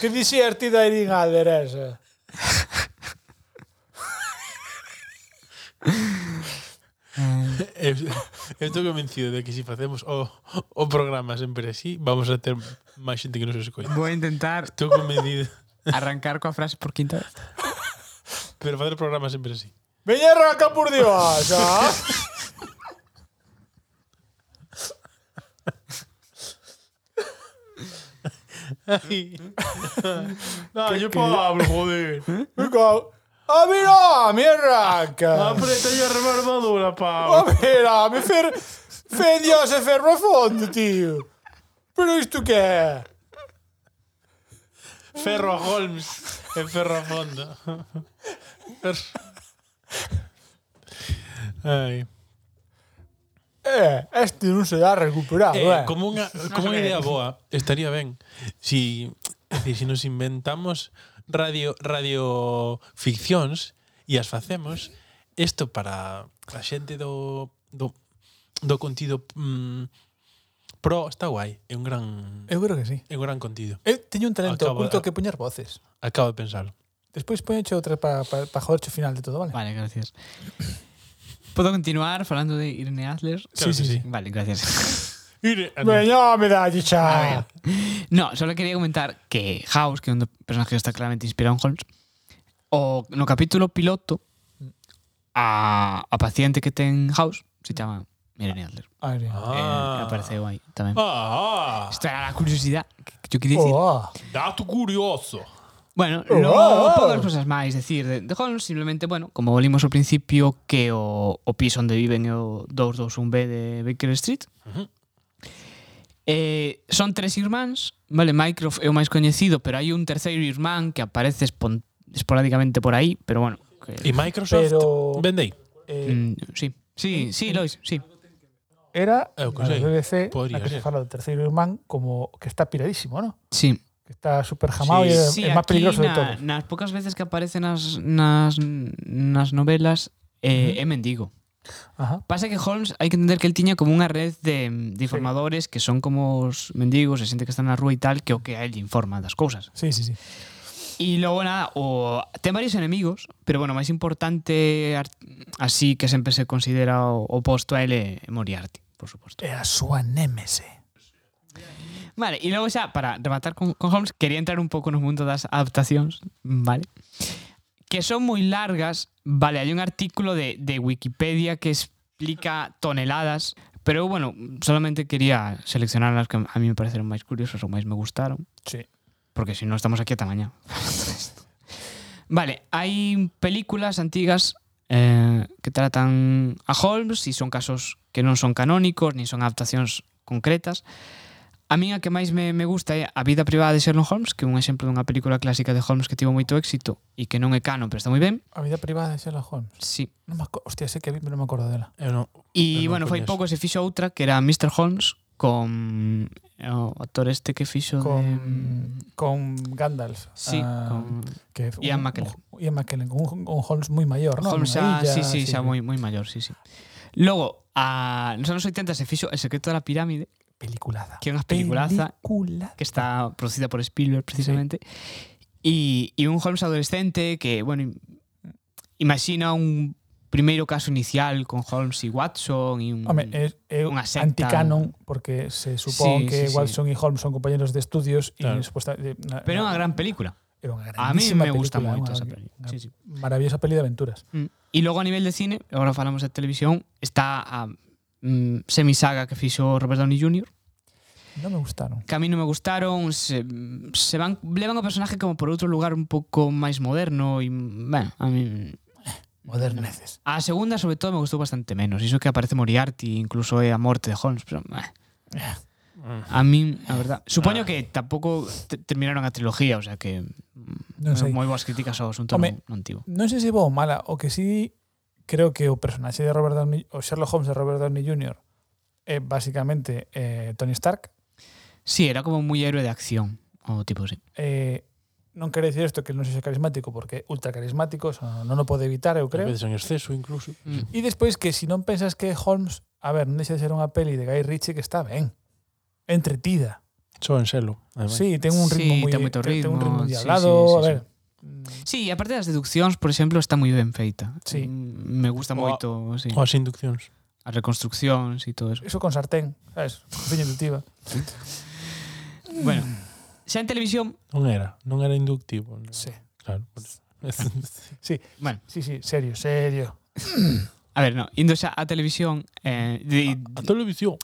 Speaker 4: Que dixías ti da Irín Alder esa?
Speaker 3: Eu, eu estou convencido de que se facemos o, o programa sempre así, vamos a ter máis xente que nos escoita.
Speaker 2: Vou intentar
Speaker 3: Estou convencido.
Speaker 2: arrancar coa frase por quinta vez.
Speaker 3: Pero facer o programa sempre así.
Speaker 4: Viña arranca por Dios, ah.
Speaker 3: Dalle, Pablo, joder.
Speaker 4: Fico- A ver, home, "Ah, arranca.
Speaker 3: Apretalle a remarmadura,
Speaker 4: A
Speaker 3: Pablo.
Speaker 4: ver, home, fer... Fe Dios e ferro a fondo, tío. Pero isto que é?
Speaker 3: Ferro a Holmes e ferro a fondo. Fer- Ai.
Speaker 4: Eh, este non se dá recuperado,
Speaker 3: Eh,
Speaker 4: eh.
Speaker 3: como unha como unha
Speaker 2: Eh.
Speaker 3: idea boa, estaría ben. Si, é dicir, si nos inventamos radio radio ficcións e as facemos, isto para a xente do do do contido mm, pro está guai, é un gran
Speaker 4: Eu creo que sí.
Speaker 3: é un gran contido.
Speaker 4: Eu teño un talento
Speaker 3: Acaba-
Speaker 4: oculto que poñer voces.
Speaker 3: Acabo de pensalo.
Speaker 4: Despois poñeche outra para pa, pa joderche o final de todo, vale?
Speaker 2: Vale, gracias. Podo continuar falando de Irene Adler?
Speaker 3: Claro que sí.
Speaker 2: Vale, gracias.
Speaker 3: Ire,
Speaker 4: Veña, me dalle
Speaker 3: Ah.
Speaker 4: xa.
Speaker 2: No, solo quería comentar que House, que é un do- personaje que está claramente inspirado en Holmes, o no capítulo piloto a, a paciente que ten House se chama Irene Adler.
Speaker 4: A ver.
Speaker 2: Ah. Eh,
Speaker 3: Ah.
Speaker 2: apareceu aí tamén.
Speaker 3: Ah,
Speaker 2: Esta era a curiosidade que, que eu quería dicir.
Speaker 4: Oh,
Speaker 3: dato curioso.
Speaker 2: Bueno,
Speaker 4: Oh.
Speaker 2: non poucas cousas máis decir de, de Holmes, simplemente, bueno, como volimos ao principio que o, o piso onde viven é o 221B de Baker Street.
Speaker 3: Ujú.
Speaker 2: Eh, son tres irmáns, vale, Mycroft é o máis coñecido, pero hai un terceiro irmán que aparece espon- esporádicamente por aí, pero bueno, que,
Speaker 3: E Microsoft
Speaker 4: pero
Speaker 3: vende aí.
Speaker 4: eh,
Speaker 2: mm, sí. Sí, sí, Lois, sí.
Speaker 4: era
Speaker 3: Eu que
Speaker 4: na
Speaker 3: sei,
Speaker 4: BBC
Speaker 3: podría
Speaker 4: na que
Speaker 3: ser.
Speaker 4: se fala do terceiro irmán como que está piradísimo, ¿no?
Speaker 2: Sí.
Speaker 4: Que está super
Speaker 3: Sí,
Speaker 4: jamado e é-
Speaker 2: sí,
Speaker 4: é máis
Speaker 2: aquí
Speaker 4: peligroso de
Speaker 2: na-
Speaker 4: todo.
Speaker 2: Nas pocas veces que aparecen nas, nas, nas novelas eh, é mendigo.
Speaker 4: Ajá.
Speaker 2: Pasa que Holmes, hai que entender que el tiña como unha red de, de informadores que son como os mendigos, se xente que está na rúa e tal, que o que a él lle informa das cousas.
Speaker 4: Sí, sí, sí.
Speaker 2: E logo nada, o ten varios enemigos, pero bueno, o máis importante ar- así que sempre se considera o oposto a ele é Moriarty, por suposto.
Speaker 4: É a súa némese.
Speaker 2: Vale, e logo xa, para rematar con, con Holmes, quería entrar un pouco no mundo das adaptacións, vale? Que son moi largas, vale, hai un artículo de, de Wikipedia que explica toneladas, pero eu, bueno, solamente quería seleccionar as que a mí me pareceron máis curiosas ou máis me gustaron,
Speaker 4: Sí.
Speaker 2: porque se non estamos aquí ata mañá. vale, hai películas antigas eh, que tratan a Holmes e son casos que non son canónicos, ni son adaptacións concretas. A min a que máis me, me gusta é A vida privada de Sherlock Holmes, que é un exemplo dunha película clásica de Holmes que tivo moito éxito e que non é canon, pero está moi ben.
Speaker 4: A vida privada de Sherlock Holmes.
Speaker 2: Sí.
Speaker 4: Non me aco- Hostia, sei que a mí non me acordo dela.
Speaker 3: Eu non,
Speaker 2: E,
Speaker 3: Eu non
Speaker 2: bueno, foi
Speaker 3: coñezo.
Speaker 2: pouco se fixo outra que era Mr. Holmes con eh, o actor este que fixo
Speaker 4: Con,
Speaker 2: de...
Speaker 4: con Gandalf.
Speaker 2: Mm. Sí,
Speaker 4: ah,
Speaker 2: con...
Speaker 4: que é
Speaker 2: Ian
Speaker 4: un-
Speaker 2: McKellen.
Speaker 4: un- Ian McKellen, un, un Holmes moi maior, non?
Speaker 2: Holmes xa,
Speaker 4: Unha illa,
Speaker 2: sí, sí, xa moi moi maior, sí, sí. Logo, a nos anos 80 se fixo El secreto da pirámide,
Speaker 4: Peliculaza.
Speaker 2: Que é unha peliculaza
Speaker 4: Peliculaza.
Speaker 2: que está producida por Spielberg precisamente. Y, y un Holmes adolescente que, bueno, imagina un primeiro caso inicial con Holmes y Watson y Mm, un...
Speaker 4: Home, é, é
Speaker 2: Unha secta.
Speaker 4: anticanon porque se
Speaker 2: Sí,
Speaker 4: supón
Speaker 2: sí,
Speaker 4: que
Speaker 2: sí.
Speaker 4: Watson e Holmes son compañeros de estudios
Speaker 3: Claro.
Speaker 4: e supuestamente na-
Speaker 2: pero é
Speaker 4: na-
Speaker 2: unha gran película.
Speaker 4: era unha
Speaker 2: A mí
Speaker 4: grandísima
Speaker 2: me gusta
Speaker 4: película,
Speaker 2: moito
Speaker 4: unha-
Speaker 2: esa peli.
Speaker 4: unha
Speaker 2: Sí, sí.
Speaker 4: Maravillosa peli de aventuras.
Speaker 2: Mm. E logo a nivel de cine, agora falamos de televisión, está a mm, semisaga que fixo Robert Downey Jr.,
Speaker 4: Non me gustaron.
Speaker 2: que a mí non me gustaron, se, se van levan o personaje como por outro lugar un pouco máis moderno e, ben, a mí
Speaker 4: Moderneces.
Speaker 2: A segunda, sobre todo, me gustou bastante menos. Iso que aparece Moriarty, incluso é a morte de Holmes. Pero, eh.
Speaker 3: Mm.
Speaker 2: A mí, a verdad.
Speaker 3: Ah.
Speaker 2: Supoño que tampouco te- terminaron a trilogía, o sea que
Speaker 4: Non sei.
Speaker 2: moi boas críticas ao asunto
Speaker 4: Home.
Speaker 2: non, non tivo.
Speaker 4: Non sei se boa ou mala, o que sí creo que o personaxe de Robert Downey, o Sherlock Holmes de Robert Downey Jr. é basicamente eh, Tony Stark.
Speaker 2: Sí, era como moi héroe de acción, o tipo así.
Speaker 4: Eh, non quere dicir isto que non sexa carismático porque é ultra carismático, eso non o pode evitar, eu
Speaker 3: A
Speaker 4: creo.
Speaker 3: veces en exceso incluso.
Speaker 2: Mm.
Speaker 4: E despois que si non pensas que é Holmes, a ver, non deixa de ser unha peli de Guy Ritchie que está ben. É Entretida.
Speaker 3: Só en selo. ademais.
Speaker 4: Sí, ten un
Speaker 2: Sí,
Speaker 4: ritmo moi
Speaker 2: ten moito
Speaker 4: ten- ten un
Speaker 2: ritmo,
Speaker 4: ritmo
Speaker 2: sí,
Speaker 4: diablado,
Speaker 2: sí, sí,
Speaker 4: a
Speaker 2: sí.
Speaker 4: ver.
Speaker 2: Sí, aparte das deduccións, por exemplo, está moi ben feita.
Speaker 4: Sí.
Speaker 2: Mm, Me gusta
Speaker 3: O a-
Speaker 2: moito, sí.
Speaker 3: Ou as induccións.
Speaker 2: As reconstruccións e todo eso.
Speaker 4: Eso con sartén, sabes? Cociña intuitiva.
Speaker 2: Bueno, xa en televisión,
Speaker 3: Non era. Non era inductivo. non.
Speaker 4: Sí.
Speaker 3: Claro. por eso.
Speaker 2: bueno,
Speaker 4: Sí, sí, serio, serio.
Speaker 2: a ver, no, indo xa a televisión, eh, de,
Speaker 3: a televisión.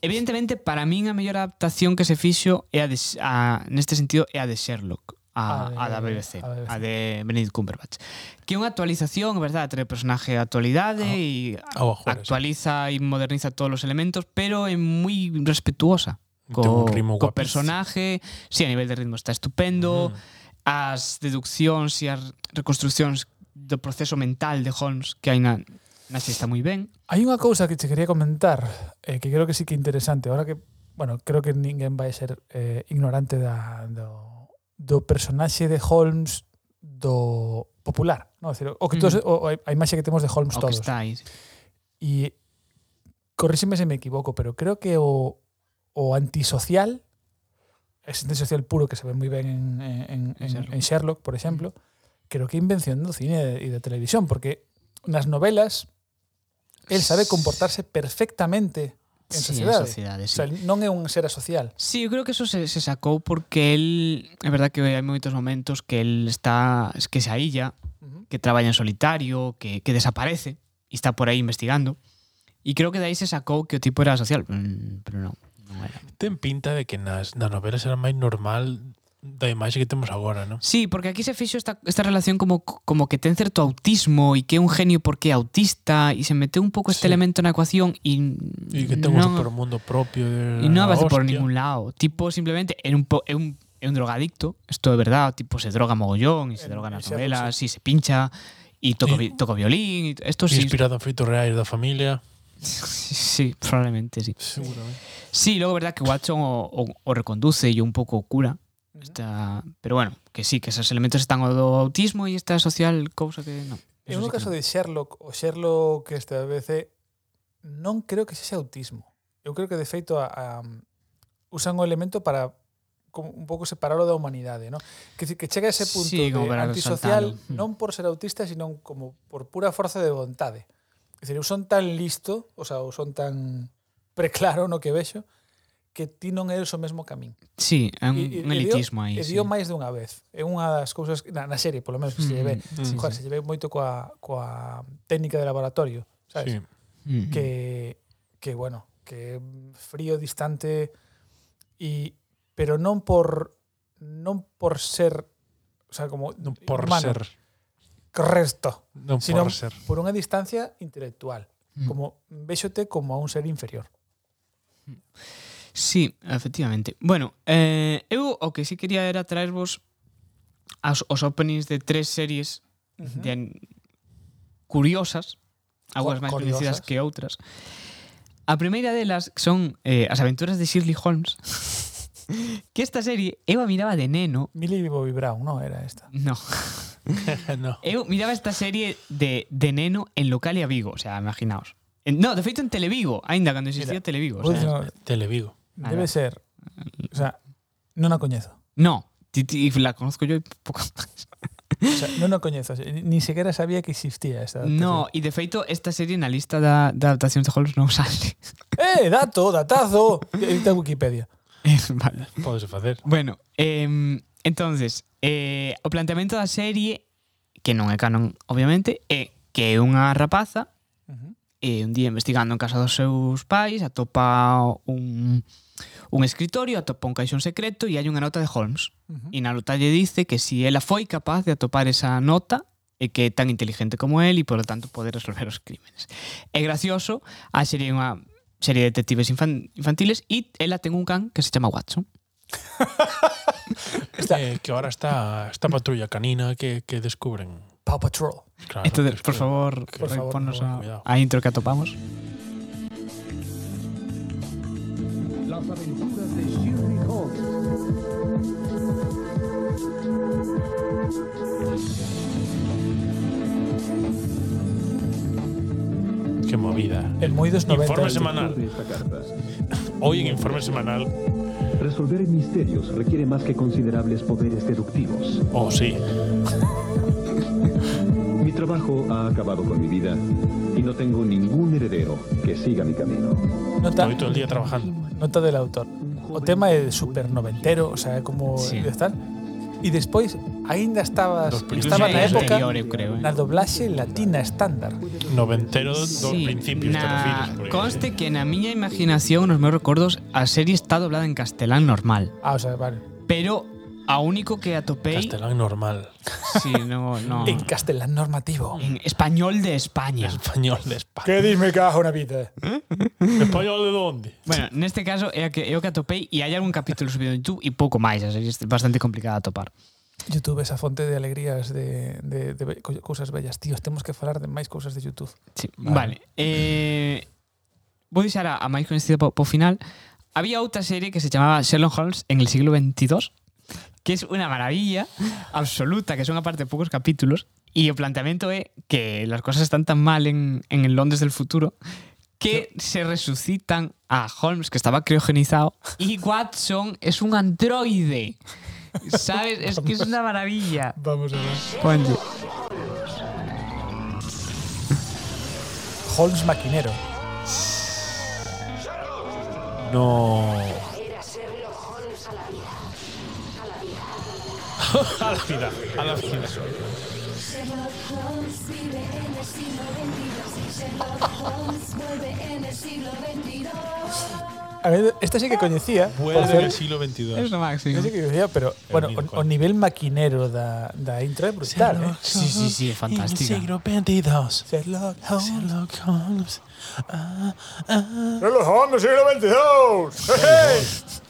Speaker 2: Evidentemente, para min a mellor adaptación que se fixo é a de, a, neste sentido é a de Sherlock, a,
Speaker 4: A de-
Speaker 2: a, da BBC,
Speaker 4: a BBC.
Speaker 2: a de Benedict Cumberbatch. Que é unha actualización, é verdade, trae o personaje a actualidade
Speaker 3: Ah,
Speaker 2: e
Speaker 3: Ao ajora. sí.
Speaker 2: actualiza e moderniza todos os elementos, pero é moi respetuosa
Speaker 3: Ten
Speaker 2: co,
Speaker 3: un ritmo
Speaker 2: co
Speaker 3: guapísimo.
Speaker 2: personaje, si sí, a nivel de ritmo está estupendo,
Speaker 3: Mm.
Speaker 2: as deduccións e as reconstruccións do proceso mental de Holmes que hai na, na serie está moi ben.
Speaker 4: Hai unha cousa que che quería comentar eh, que creo que sí que é interesante. Ahora que, bueno, creo que ninguén vai ser eh, ignorante da, do, do personaxe de Holmes do popular, no? Decir, o que
Speaker 2: Ujú.
Speaker 4: todos, o, o a imaxe que temos de Holmes
Speaker 2: O que
Speaker 4: Pois todos.
Speaker 2: está aí.
Speaker 4: E corríxeme se me equivoco, pero creo que o, o antisocial, ese antisocial puro que se ve moi ben en, en,
Speaker 2: Sherlock. Mm.
Speaker 4: en, en, Sherlock. en Sherlock, por exemplo, creo que é invención do cine e de televisión, porque nas novelas él sabe comportarse perfectamente en
Speaker 2: Sí,
Speaker 4: sociedade.
Speaker 2: En sociedade,
Speaker 4: O
Speaker 2: sí.
Speaker 4: sea, non é un ser asocial.
Speaker 2: Sí, yo creo que eso se, se sacó porque él. Es verdad que hay muchos momentos que él está. Es que se ailla, que trabaja en solitario, que, que desaparece y está por ahí investigando. Y creo que de ahí se sacó que el tipo era social. Mm, Pero no, no era.
Speaker 3: Ten pinta de que nas, nas novelas era máis normal da imaxe que temos agora, non?
Speaker 2: Sí, porque aquí se fixo esta, esta relación como, como que ten certo autismo y que é un genio porque é autista y se mete un poco este
Speaker 3: Sí.
Speaker 2: elemento en la ecuación y,
Speaker 3: E que ten un supermundo propio
Speaker 2: Y
Speaker 3: de
Speaker 2: no
Speaker 3: la
Speaker 2: avanza por
Speaker 3: Mm, hostia.
Speaker 2: ningún lado. Tipo, simplemente, en un, po- en un, en un drogadicto. Esto de verdad. Tipo, se droga mogollón y se
Speaker 4: En-
Speaker 2: droga en las
Speaker 4: en Sherlock,
Speaker 2: novelas y se pincha y toca
Speaker 3: Y-
Speaker 2: vi- toca violín. y esto sí.
Speaker 3: Inspirado en feitos reais da familia.
Speaker 2: Sí, probablemente sí.
Speaker 3: Seguramente.
Speaker 2: Sí, luego, verdad que Watson o, o- o reconduce y un poco cura. Está- pero bueno, que sí, que esos elementos están o do autismo y esta social cosa que no.
Speaker 4: En
Speaker 2: Eso
Speaker 4: un
Speaker 2: sí que
Speaker 4: caso
Speaker 2: no.
Speaker 4: de Sherlock, o Sherlock que este da BBC, non creo que sexa autismo. Eu creo que, de feito, a, a, usan o elemento para como un pouco separarlo da humanidade, non? Que, dicir, que chega a ese punto
Speaker 2: Sí,
Speaker 4: de
Speaker 2: como para
Speaker 4: antisocial
Speaker 2: resaltalo. Mm.
Speaker 4: non por ser autista, sino como por pura forza de vontade. É dicir, eu son tan listo, o sea, eu son tan preclaro no que vexo, que ti non eres o mesmo camín.
Speaker 2: Sí, é un,
Speaker 4: E- e-
Speaker 2: un
Speaker 4: e dio-
Speaker 2: elitismo aí.
Speaker 4: E
Speaker 2: sí.
Speaker 4: dio máis dunha vez. É unha das cousas que- na, na serie, polo menos, que se lle ve.
Speaker 2: Mm,
Speaker 4: Joder, se lleve moito coa, coa técnica de laboratorio,
Speaker 3: Sí.
Speaker 4: sabes?
Speaker 2: mm, mm.
Speaker 4: Que, que, bueno, que é frío, distante, e, pero non por non por ser o sea, como
Speaker 3: Non por
Speaker 4: humano,
Speaker 3: ser.
Speaker 4: correcto,
Speaker 3: Non
Speaker 4: sino
Speaker 3: por ser.
Speaker 4: por unha distancia intelectual.
Speaker 2: Mm.
Speaker 4: Como véxote como a un ser inferior.
Speaker 2: Sí, efectivamente. Bueno, eh, eu o que sí quería era traervos as, os openings de tres series de, an- curiosas, algunhas máis
Speaker 4: Curiosas.
Speaker 2: coñecidas que outras. A primeira delas son eh, As aventuras de Shirley Holmes, que esta serie eu a miraba de neno,
Speaker 4: Millie Bobby Brown, non era esta.
Speaker 2: no,
Speaker 3: no.
Speaker 2: eu miraba esta serie de, de neno en local e a Vigo, o sea, imaginaos. En- no, de feito en Televigo, aínda cando existía
Speaker 4: Mira, pois
Speaker 2: Televigo. o
Speaker 4: vou
Speaker 2: sea,
Speaker 4: dicir unha-
Speaker 3: Televigo.
Speaker 4: debe ser, o sea, non a coñezo.
Speaker 2: no, ti- ti- la conozco yo y poco máis.
Speaker 4: O sea, non a coñezo, o sea, ni sequera sabía que existía esta adaptación.
Speaker 2: No, e de feito esta serie na lista da, da adaptación de Holmes non sale.
Speaker 4: Eh, dato, datazo, edita Wikipedia.
Speaker 2: Eh, vale.
Speaker 3: Podes facer.
Speaker 2: Bueno, eh, entonces, eh, o planteamento da serie que non é canon, obviamente, é que é unha rapaza e un día investigando en casa dos seus pais atopa un, un escritorio, atopa un caixón secreto e hai unha nota de Holmes. E na nota lle dice que si ela foi capaz de atopar esa nota e que é tan inteligente como él e, por lo tanto, pode resolver os crímenes. É gracioso, a serie é unha serie de detectives infan- infantiles e ela ten un can que se chama Watson.
Speaker 3: Eh, que ahora está esta patrulla canina que, que descubren.
Speaker 4: Paw Patrol.
Speaker 3: Claro,
Speaker 2: Entonces,
Speaker 3: que
Speaker 2: Este por
Speaker 3: descubren.
Speaker 2: favor,
Speaker 3: que-
Speaker 4: por favor,
Speaker 2: ponnos
Speaker 4: por
Speaker 2: a-
Speaker 3: cuidado.
Speaker 2: a intro que atopamos.
Speaker 5: Las aventuras de Sherlock Holmes.
Speaker 3: Qué movida.
Speaker 4: El muy dos 90.
Speaker 3: Informe
Speaker 4: el tipo.
Speaker 3: semanal.
Speaker 5: De esta carta.
Speaker 3: Hoy en Informe semanal.
Speaker 5: Resolver misterios requiere más que considerables poderes deductivos.
Speaker 3: Oh, sí.
Speaker 5: Mi trabajo ha acabado con mi vida y no tengo ningún heredero que siga mi camino.
Speaker 4: Nota,
Speaker 3: Estoy todo el día trabajando.
Speaker 4: nota del autor. O tema é super noventero, o sea, é como
Speaker 2: Sí.
Speaker 4: de tal. E despois, aínda estabas,
Speaker 3: Dos primeros
Speaker 4: estaba na
Speaker 2: anos
Speaker 4: época
Speaker 2: anterior, eu creo, eh.
Speaker 4: na doblaxe latina estándar.
Speaker 3: Noventero dos principios, te refieres. porque-
Speaker 2: Conste que na miña imaginación, nos meus recordos, a serie está doblada en castelán normal.
Speaker 4: Ah, o sea, vale.
Speaker 2: Pero a único que atopei...
Speaker 3: Castelán normal.
Speaker 2: Sí, no, no.
Speaker 4: En castelán normativo.
Speaker 2: en español de España.
Speaker 3: Español de España.
Speaker 4: Que dime que hago una vida.
Speaker 3: ¿Español de dónde?
Speaker 2: Bueno, neste caso é, a que, é o que atopei e hai algún capítulo subido en YouTube e pouco máis, a serie é bastante complicada de atopar.
Speaker 4: YouTube esa fonte de alegrías de, de, de be- co- cousas bellas. Tíos, temos que falar de máis cousas de YouTube.
Speaker 2: Sí, vale. Eh, vou deixar a, a máis coñecida po, po final. Había outra serie que se chamaba Sherlock Holmes en el siglo XXII, que es unha maravilla absoluta, que son aparte poucos capítulos, e o planteamento é que las cosas están tan mal en, en el Londres del futuro que se resucitan a Holmes, que estaba criogenizado, y Watson es un androide. ¿Sabes? Es que es una maravilla.
Speaker 4: Vamos a ver.
Speaker 2: Ponlle.
Speaker 4: Holmes Maquinero.
Speaker 3: No. A la vida, a la vida.
Speaker 6: Sherlock Holmes vive en el siglo XXII. Sherlock Holmes vuelve en el siglo XXII.
Speaker 4: A ver, esta sí que coñecía. por
Speaker 3: Vuelve
Speaker 4: cierto.
Speaker 3: del siglo
Speaker 2: Es
Speaker 3: XXII.
Speaker 2: lo máximo.
Speaker 4: Esta sí que coñecía, pero bueno,
Speaker 3: mil
Speaker 4: o,
Speaker 3: cual.
Speaker 4: o nivel maquinero da, da intro é brutal, eh?
Speaker 2: Sí, sí, sí, es fantástica.
Speaker 3: XXII.
Speaker 4: Sherlock Holmes.
Speaker 3: Sherlock Holmes.
Speaker 4: Sherlock Holmes siglo XXII.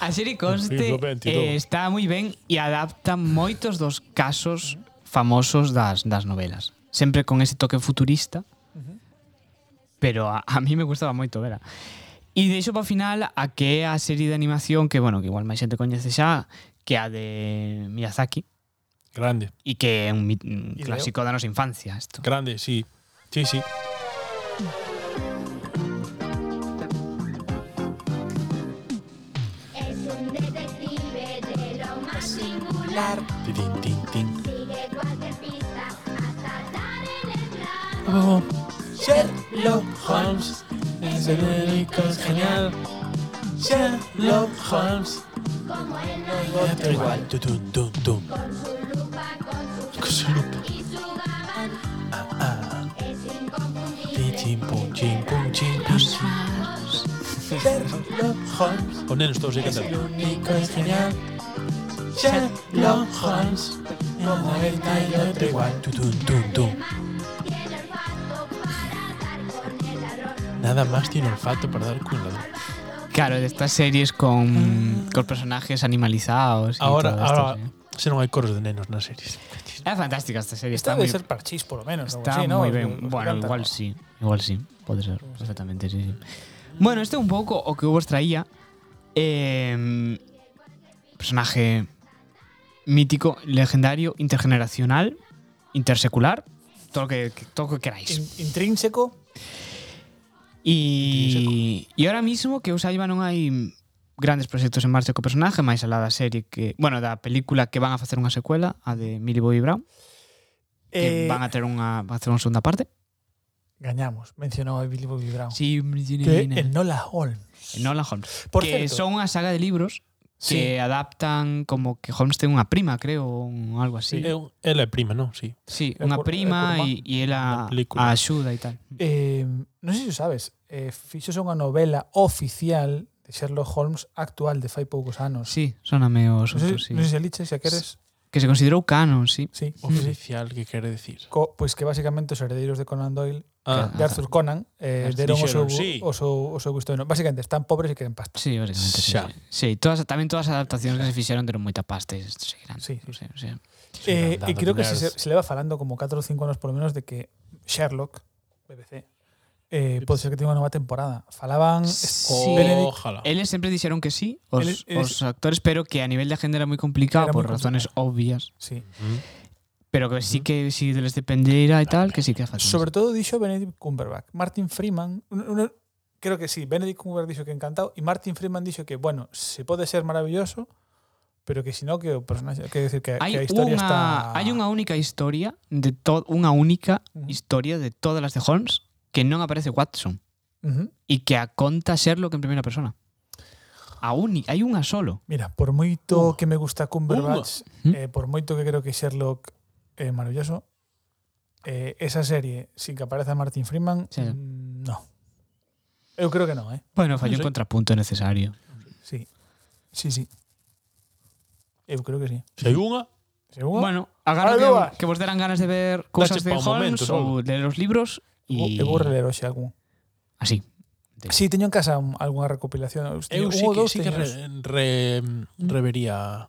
Speaker 2: A serie
Speaker 3: Siglo
Speaker 2: conste
Speaker 3: XXII.
Speaker 2: eh, está moi ben e adapta moitos dos casos famosos das, das novelas. Sempre con ese toque futurista. Pero a, a mí me gustaba moito, vera. E deixo para final a que é a serie de animación que, bueno, que igual máis xente coñece xa, que a de Miyazaki
Speaker 3: Grande,
Speaker 2: e que é un, mit- un
Speaker 4: Hideo.
Speaker 2: clásico da nosa infancia, isto.
Speaker 3: grande, sí. Sí, sí.
Speaker 6: Es un detective de lo más singular.
Speaker 3: Tin, tin, tin.
Speaker 6: Sigue cualquier pista hasta dar en el plan.
Speaker 4: Sherlock
Speaker 3: Holmes es el único genial. Sherlock Holmes.
Speaker 6: Como él no
Speaker 3: Otro igual. Tum, tum, tum, tum.
Speaker 6: con su lupa, con su
Speaker 3: Con su lupa.
Speaker 6: y su gabán. Es
Speaker 3: Ti,
Speaker 6: inconfundible.
Speaker 3: chin, pum, chin, pum, chin, pum, chin. Sherlock Holmes. Ponenos todos ahí cantando.
Speaker 4: único es genial. Sherlock Holmes. Como él no hay otro igual.
Speaker 3: Tum, tum, tum, tum.
Speaker 6: Tiene olfato para dar con el ladrón.
Speaker 3: Nada más tiene olfato para dar con la
Speaker 2: Claro, de estas series
Speaker 4: Ah.
Speaker 2: con, con personajes animalizados. e
Speaker 3: Ahora,
Speaker 2: todo esto,
Speaker 3: ahora,
Speaker 2: sí.
Speaker 3: se non hai coros de nenos nas series.
Speaker 2: É fantástica esta serie.
Speaker 4: Esta
Speaker 2: está
Speaker 4: debe
Speaker 2: moi-
Speaker 4: ser parchís, por lo menos. algo
Speaker 2: Está
Speaker 4: así, ¿no?
Speaker 2: muy
Speaker 4: Os-
Speaker 2: bien.
Speaker 4: os
Speaker 2: bueno,
Speaker 4: encanta.
Speaker 2: igual sí. Igual sí. Puede ser. Perfectamente, sí, sí. Bueno, este un pouco o que vos traía. Eh, personaje mítico, legendario, intergeneracional, intersecular. todo lo que, que- todo lo que queráis.
Speaker 4: In- intrínseco.
Speaker 2: E, e ahora mismo que eu saiba non hai grandes proxectos en marcha co personaje, máis alá da serie que, bueno, da película que van a facer unha secuela, a de Millie Bobby Brown, que
Speaker 4: eh,
Speaker 2: van a ter unha van a facer unha segunda parte.
Speaker 4: Gañamos, mencionou a Billy Bobby Brown.
Speaker 2: Sí,
Speaker 4: que
Speaker 2: Virginia.
Speaker 4: en Nola Holmes.
Speaker 2: Nolan Holmes.
Speaker 4: Por
Speaker 2: que
Speaker 4: certo.
Speaker 2: son unha saga de libros que
Speaker 4: Sí.
Speaker 2: adaptan como que Holmes ten unha prima, creo, ou algo así.
Speaker 3: É un- Ela é Eh, prima, non? Sí.
Speaker 2: Sí,
Speaker 4: É
Speaker 2: unha
Speaker 4: por- é
Speaker 2: prima
Speaker 4: por
Speaker 2: e e ela
Speaker 3: Unha película.
Speaker 2: a axuda e tal.
Speaker 4: Eh, non sei se o sabes, eh, fixose unha novela oficial de Sherlock Holmes actual de fai poucos anos.
Speaker 2: Sí, soname o
Speaker 4: non sei,
Speaker 2: susto, sí.
Speaker 4: non sei se a liches, se a queres.
Speaker 2: Que se considerou canon, sí.
Speaker 4: Sí, sí, sí.
Speaker 3: Oficial, que quere decir?
Speaker 4: Co, pois que basicamente os herdeiros de Conan Doyle
Speaker 3: Ah,
Speaker 4: de Arthur Conan eh,
Speaker 3: Arthur-
Speaker 4: deron o seu,
Speaker 3: dixeron, sí.
Speaker 4: o, seu, o seu gusto. Basicamente están pobres e queren pasta.
Speaker 2: Sí, básicamente sí.
Speaker 3: Xa.
Speaker 2: Sí, todas, tamén todas as adaptacións que se fixeron deron moita pasta e seguirán.
Speaker 4: Sí,
Speaker 2: Sí, sí.
Speaker 4: sí.
Speaker 2: O sea,
Speaker 4: Eh,
Speaker 3: Dando
Speaker 4: e creo que se,
Speaker 3: nerds.
Speaker 4: se leva falando como 4 ou 5 anos por lo menos de que Sherlock, BBC, eh, pode ser que tenga unha nova temporada. Falaban
Speaker 2: Sí.
Speaker 4: Mm, Benedict-
Speaker 3: Ojalá.
Speaker 2: Eles sempre dixeron que sí, os,
Speaker 4: Eles-
Speaker 2: os actores, pero que a nivel de agenda era moi complicado
Speaker 4: Era
Speaker 2: por
Speaker 4: moi
Speaker 2: razones obvias.
Speaker 4: Sí.
Speaker 2: Pero que sí que si deles dependiera e tal, que sí que facen.
Speaker 4: Sobre todo dixo Benedict Cumberbatch. Martin Freeman, un- un- creo que sí, Benedict Cumberbatch dixo que encantado y Martin Freeman dixo que, bueno, se pode ser maravilloso, pero que si no que o personaje, que decir que,
Speaker 2: Hai
Speaker 4: que a
Speaker 2: unha,
Speaker 4: historia está
Speaker 2: hai unha única historia de to, unha única
Speaker 4: Ujú.
Speaker 2: historia de todas as de Holmes que non aparece Watson
Speaker 4: Ujú.
Speaker 2: e que a conta Sherlock en primeira persona. A uni, hai unha solo.
Speaker 4: Mira, por moito que me gusta Cumberbatch,
Speaker 2: Unha.
Speaker 4: eh, por moito que creo que Sherlock é maravilloso, eh, esa serie sin que apareza Martin Freeman,
Speaker 2: Sí.
Speaker 4: mm, no. Eu creo que no, eh.
Speaker 2: Bueno, fallou un
Speaker 3: Non sei.
Speaker 2: contrapunto necesario.
Speaker 4: Sí. Sí, sí. Eu creo que sí.
Speaker 3: Se hai unha,
Speaker 4: Seguro?
Speaker 2: Bueno, agarro
Speaker 4: Ahora dúas.
Speaker 2: que, que vos deran ganas de ver cosas de
Speaker 3: pa un
Speaker 2: Holmes
Speaker 3: momento,
Speaker 2: ou de los libros
Speaker 4: Oh, y...
Speaker 2: y
Speaker 4: Eu vou reler hoxe algún.
Speaker 2: así.
Speaker 4: Sí, teño en casa un- algunha recopilación.
Speaker 3: eu
Speaker 4: Teño
Speaker 3: sí
Speaker 4: un ou
Speaker 3: que,
Speaker 4: dous
Speaker 3: sí que
Speaker 4: teño.
Speaker 3: re, re, revería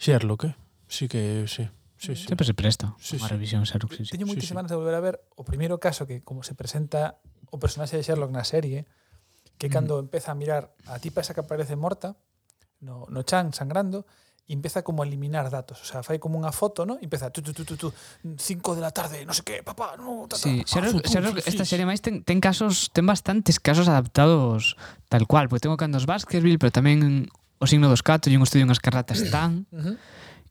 Speaker 3: Sherlock, eh? Sí que, sí. Sí, sí.
Speaker 2: Sempre se presta
Speaker 3: Sí,
Speaker 2: unha
Speaker 3: sí.
Speaker 2: revisión Sherlock, sí, sí.
Speaker 4: Teño
Speaker 3: sí,
Speaker 4: moitas
Speaker 3: sí.
Speaker 4: semanas de volver a ver o primeiro caso que como se presenta o personaxe de Sherlock na serie,
Speaker 2: Mm.
Speaker 4: que cando empeza a mirar a tipa esa que aparece morta no, no chan sangrando, e empieza como a eliminar datos, o sea, fai como unha foto, ¿no? E empeza tu tu tu tu tu 5 de la tarde, no sé qué, papá, no, ta, Ah, ta.
Speaker 2: Sí, Sherlock,
Speaker 3: tú,
Speaker 2: Sherlock,
Speaker 3: sí, sí,
Speaker 2: esta
Speaker 3: sí.
Speaker 2: serie máis ten, ten casos, ten bastantes casos adaptados tal cual, porque tengo Candos Baskerville, pero tamén o signo dos catos e un estudio en Escarlata están
Speaker 4: Ujú.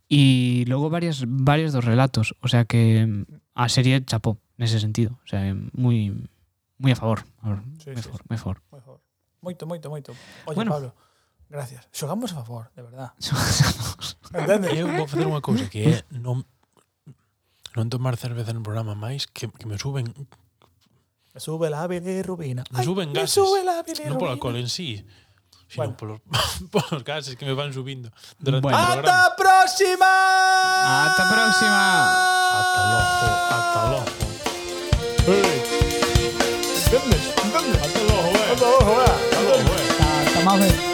Speaker 2: e logo varias varios dos relatos, o sea que mm, a serie chapó nese sentido, o sea, moi moi a favor, a favor,
Speaker 4: Sí,
Speaker 2: moi a
Speaker 4: sí,
Speaker 2: favor, moi a favor.
Speaker 4: Moi favor. Moito, moito, moito. Oye,
Speaker 2: Bueno.
Speaker 4: Pablo, gracias. Xogamos a favor, de verdad. Entende?
Speaker 3: Eu vou facer unha cousa que é non non tomar cerveza no programa máis que, que me suben
Speaker 4: Me sube la bilirrubina.
Speaker 3: me
Speaker 4: Ay,
Speaker 3: suben
Speaker 4: me
Speaker 3: gases.
Speaker 4: sube la
Speaker 3: non por
Speaker 4: bilirrubina.
Speaker 3: alcohol en sí, sino
Speaker 4: Bueno.
Speaker 3: polos, polos gases que me van subindo durante
Speaker 2: Bueno.
Speaker 3: o programa.
Speaker 4: ¡Hasta próxima!
Speaker 2: Ata próxima.
Speaker 3: Ata logo, ata logo. Hey,
Speaker 4: ¿Entiendes?
Speaker 3: ata logo, eh.
Speaker 4: Vamos a jugar.
Speaker 3: Ata logo, eh.
Speaker 2: Hasta más veces.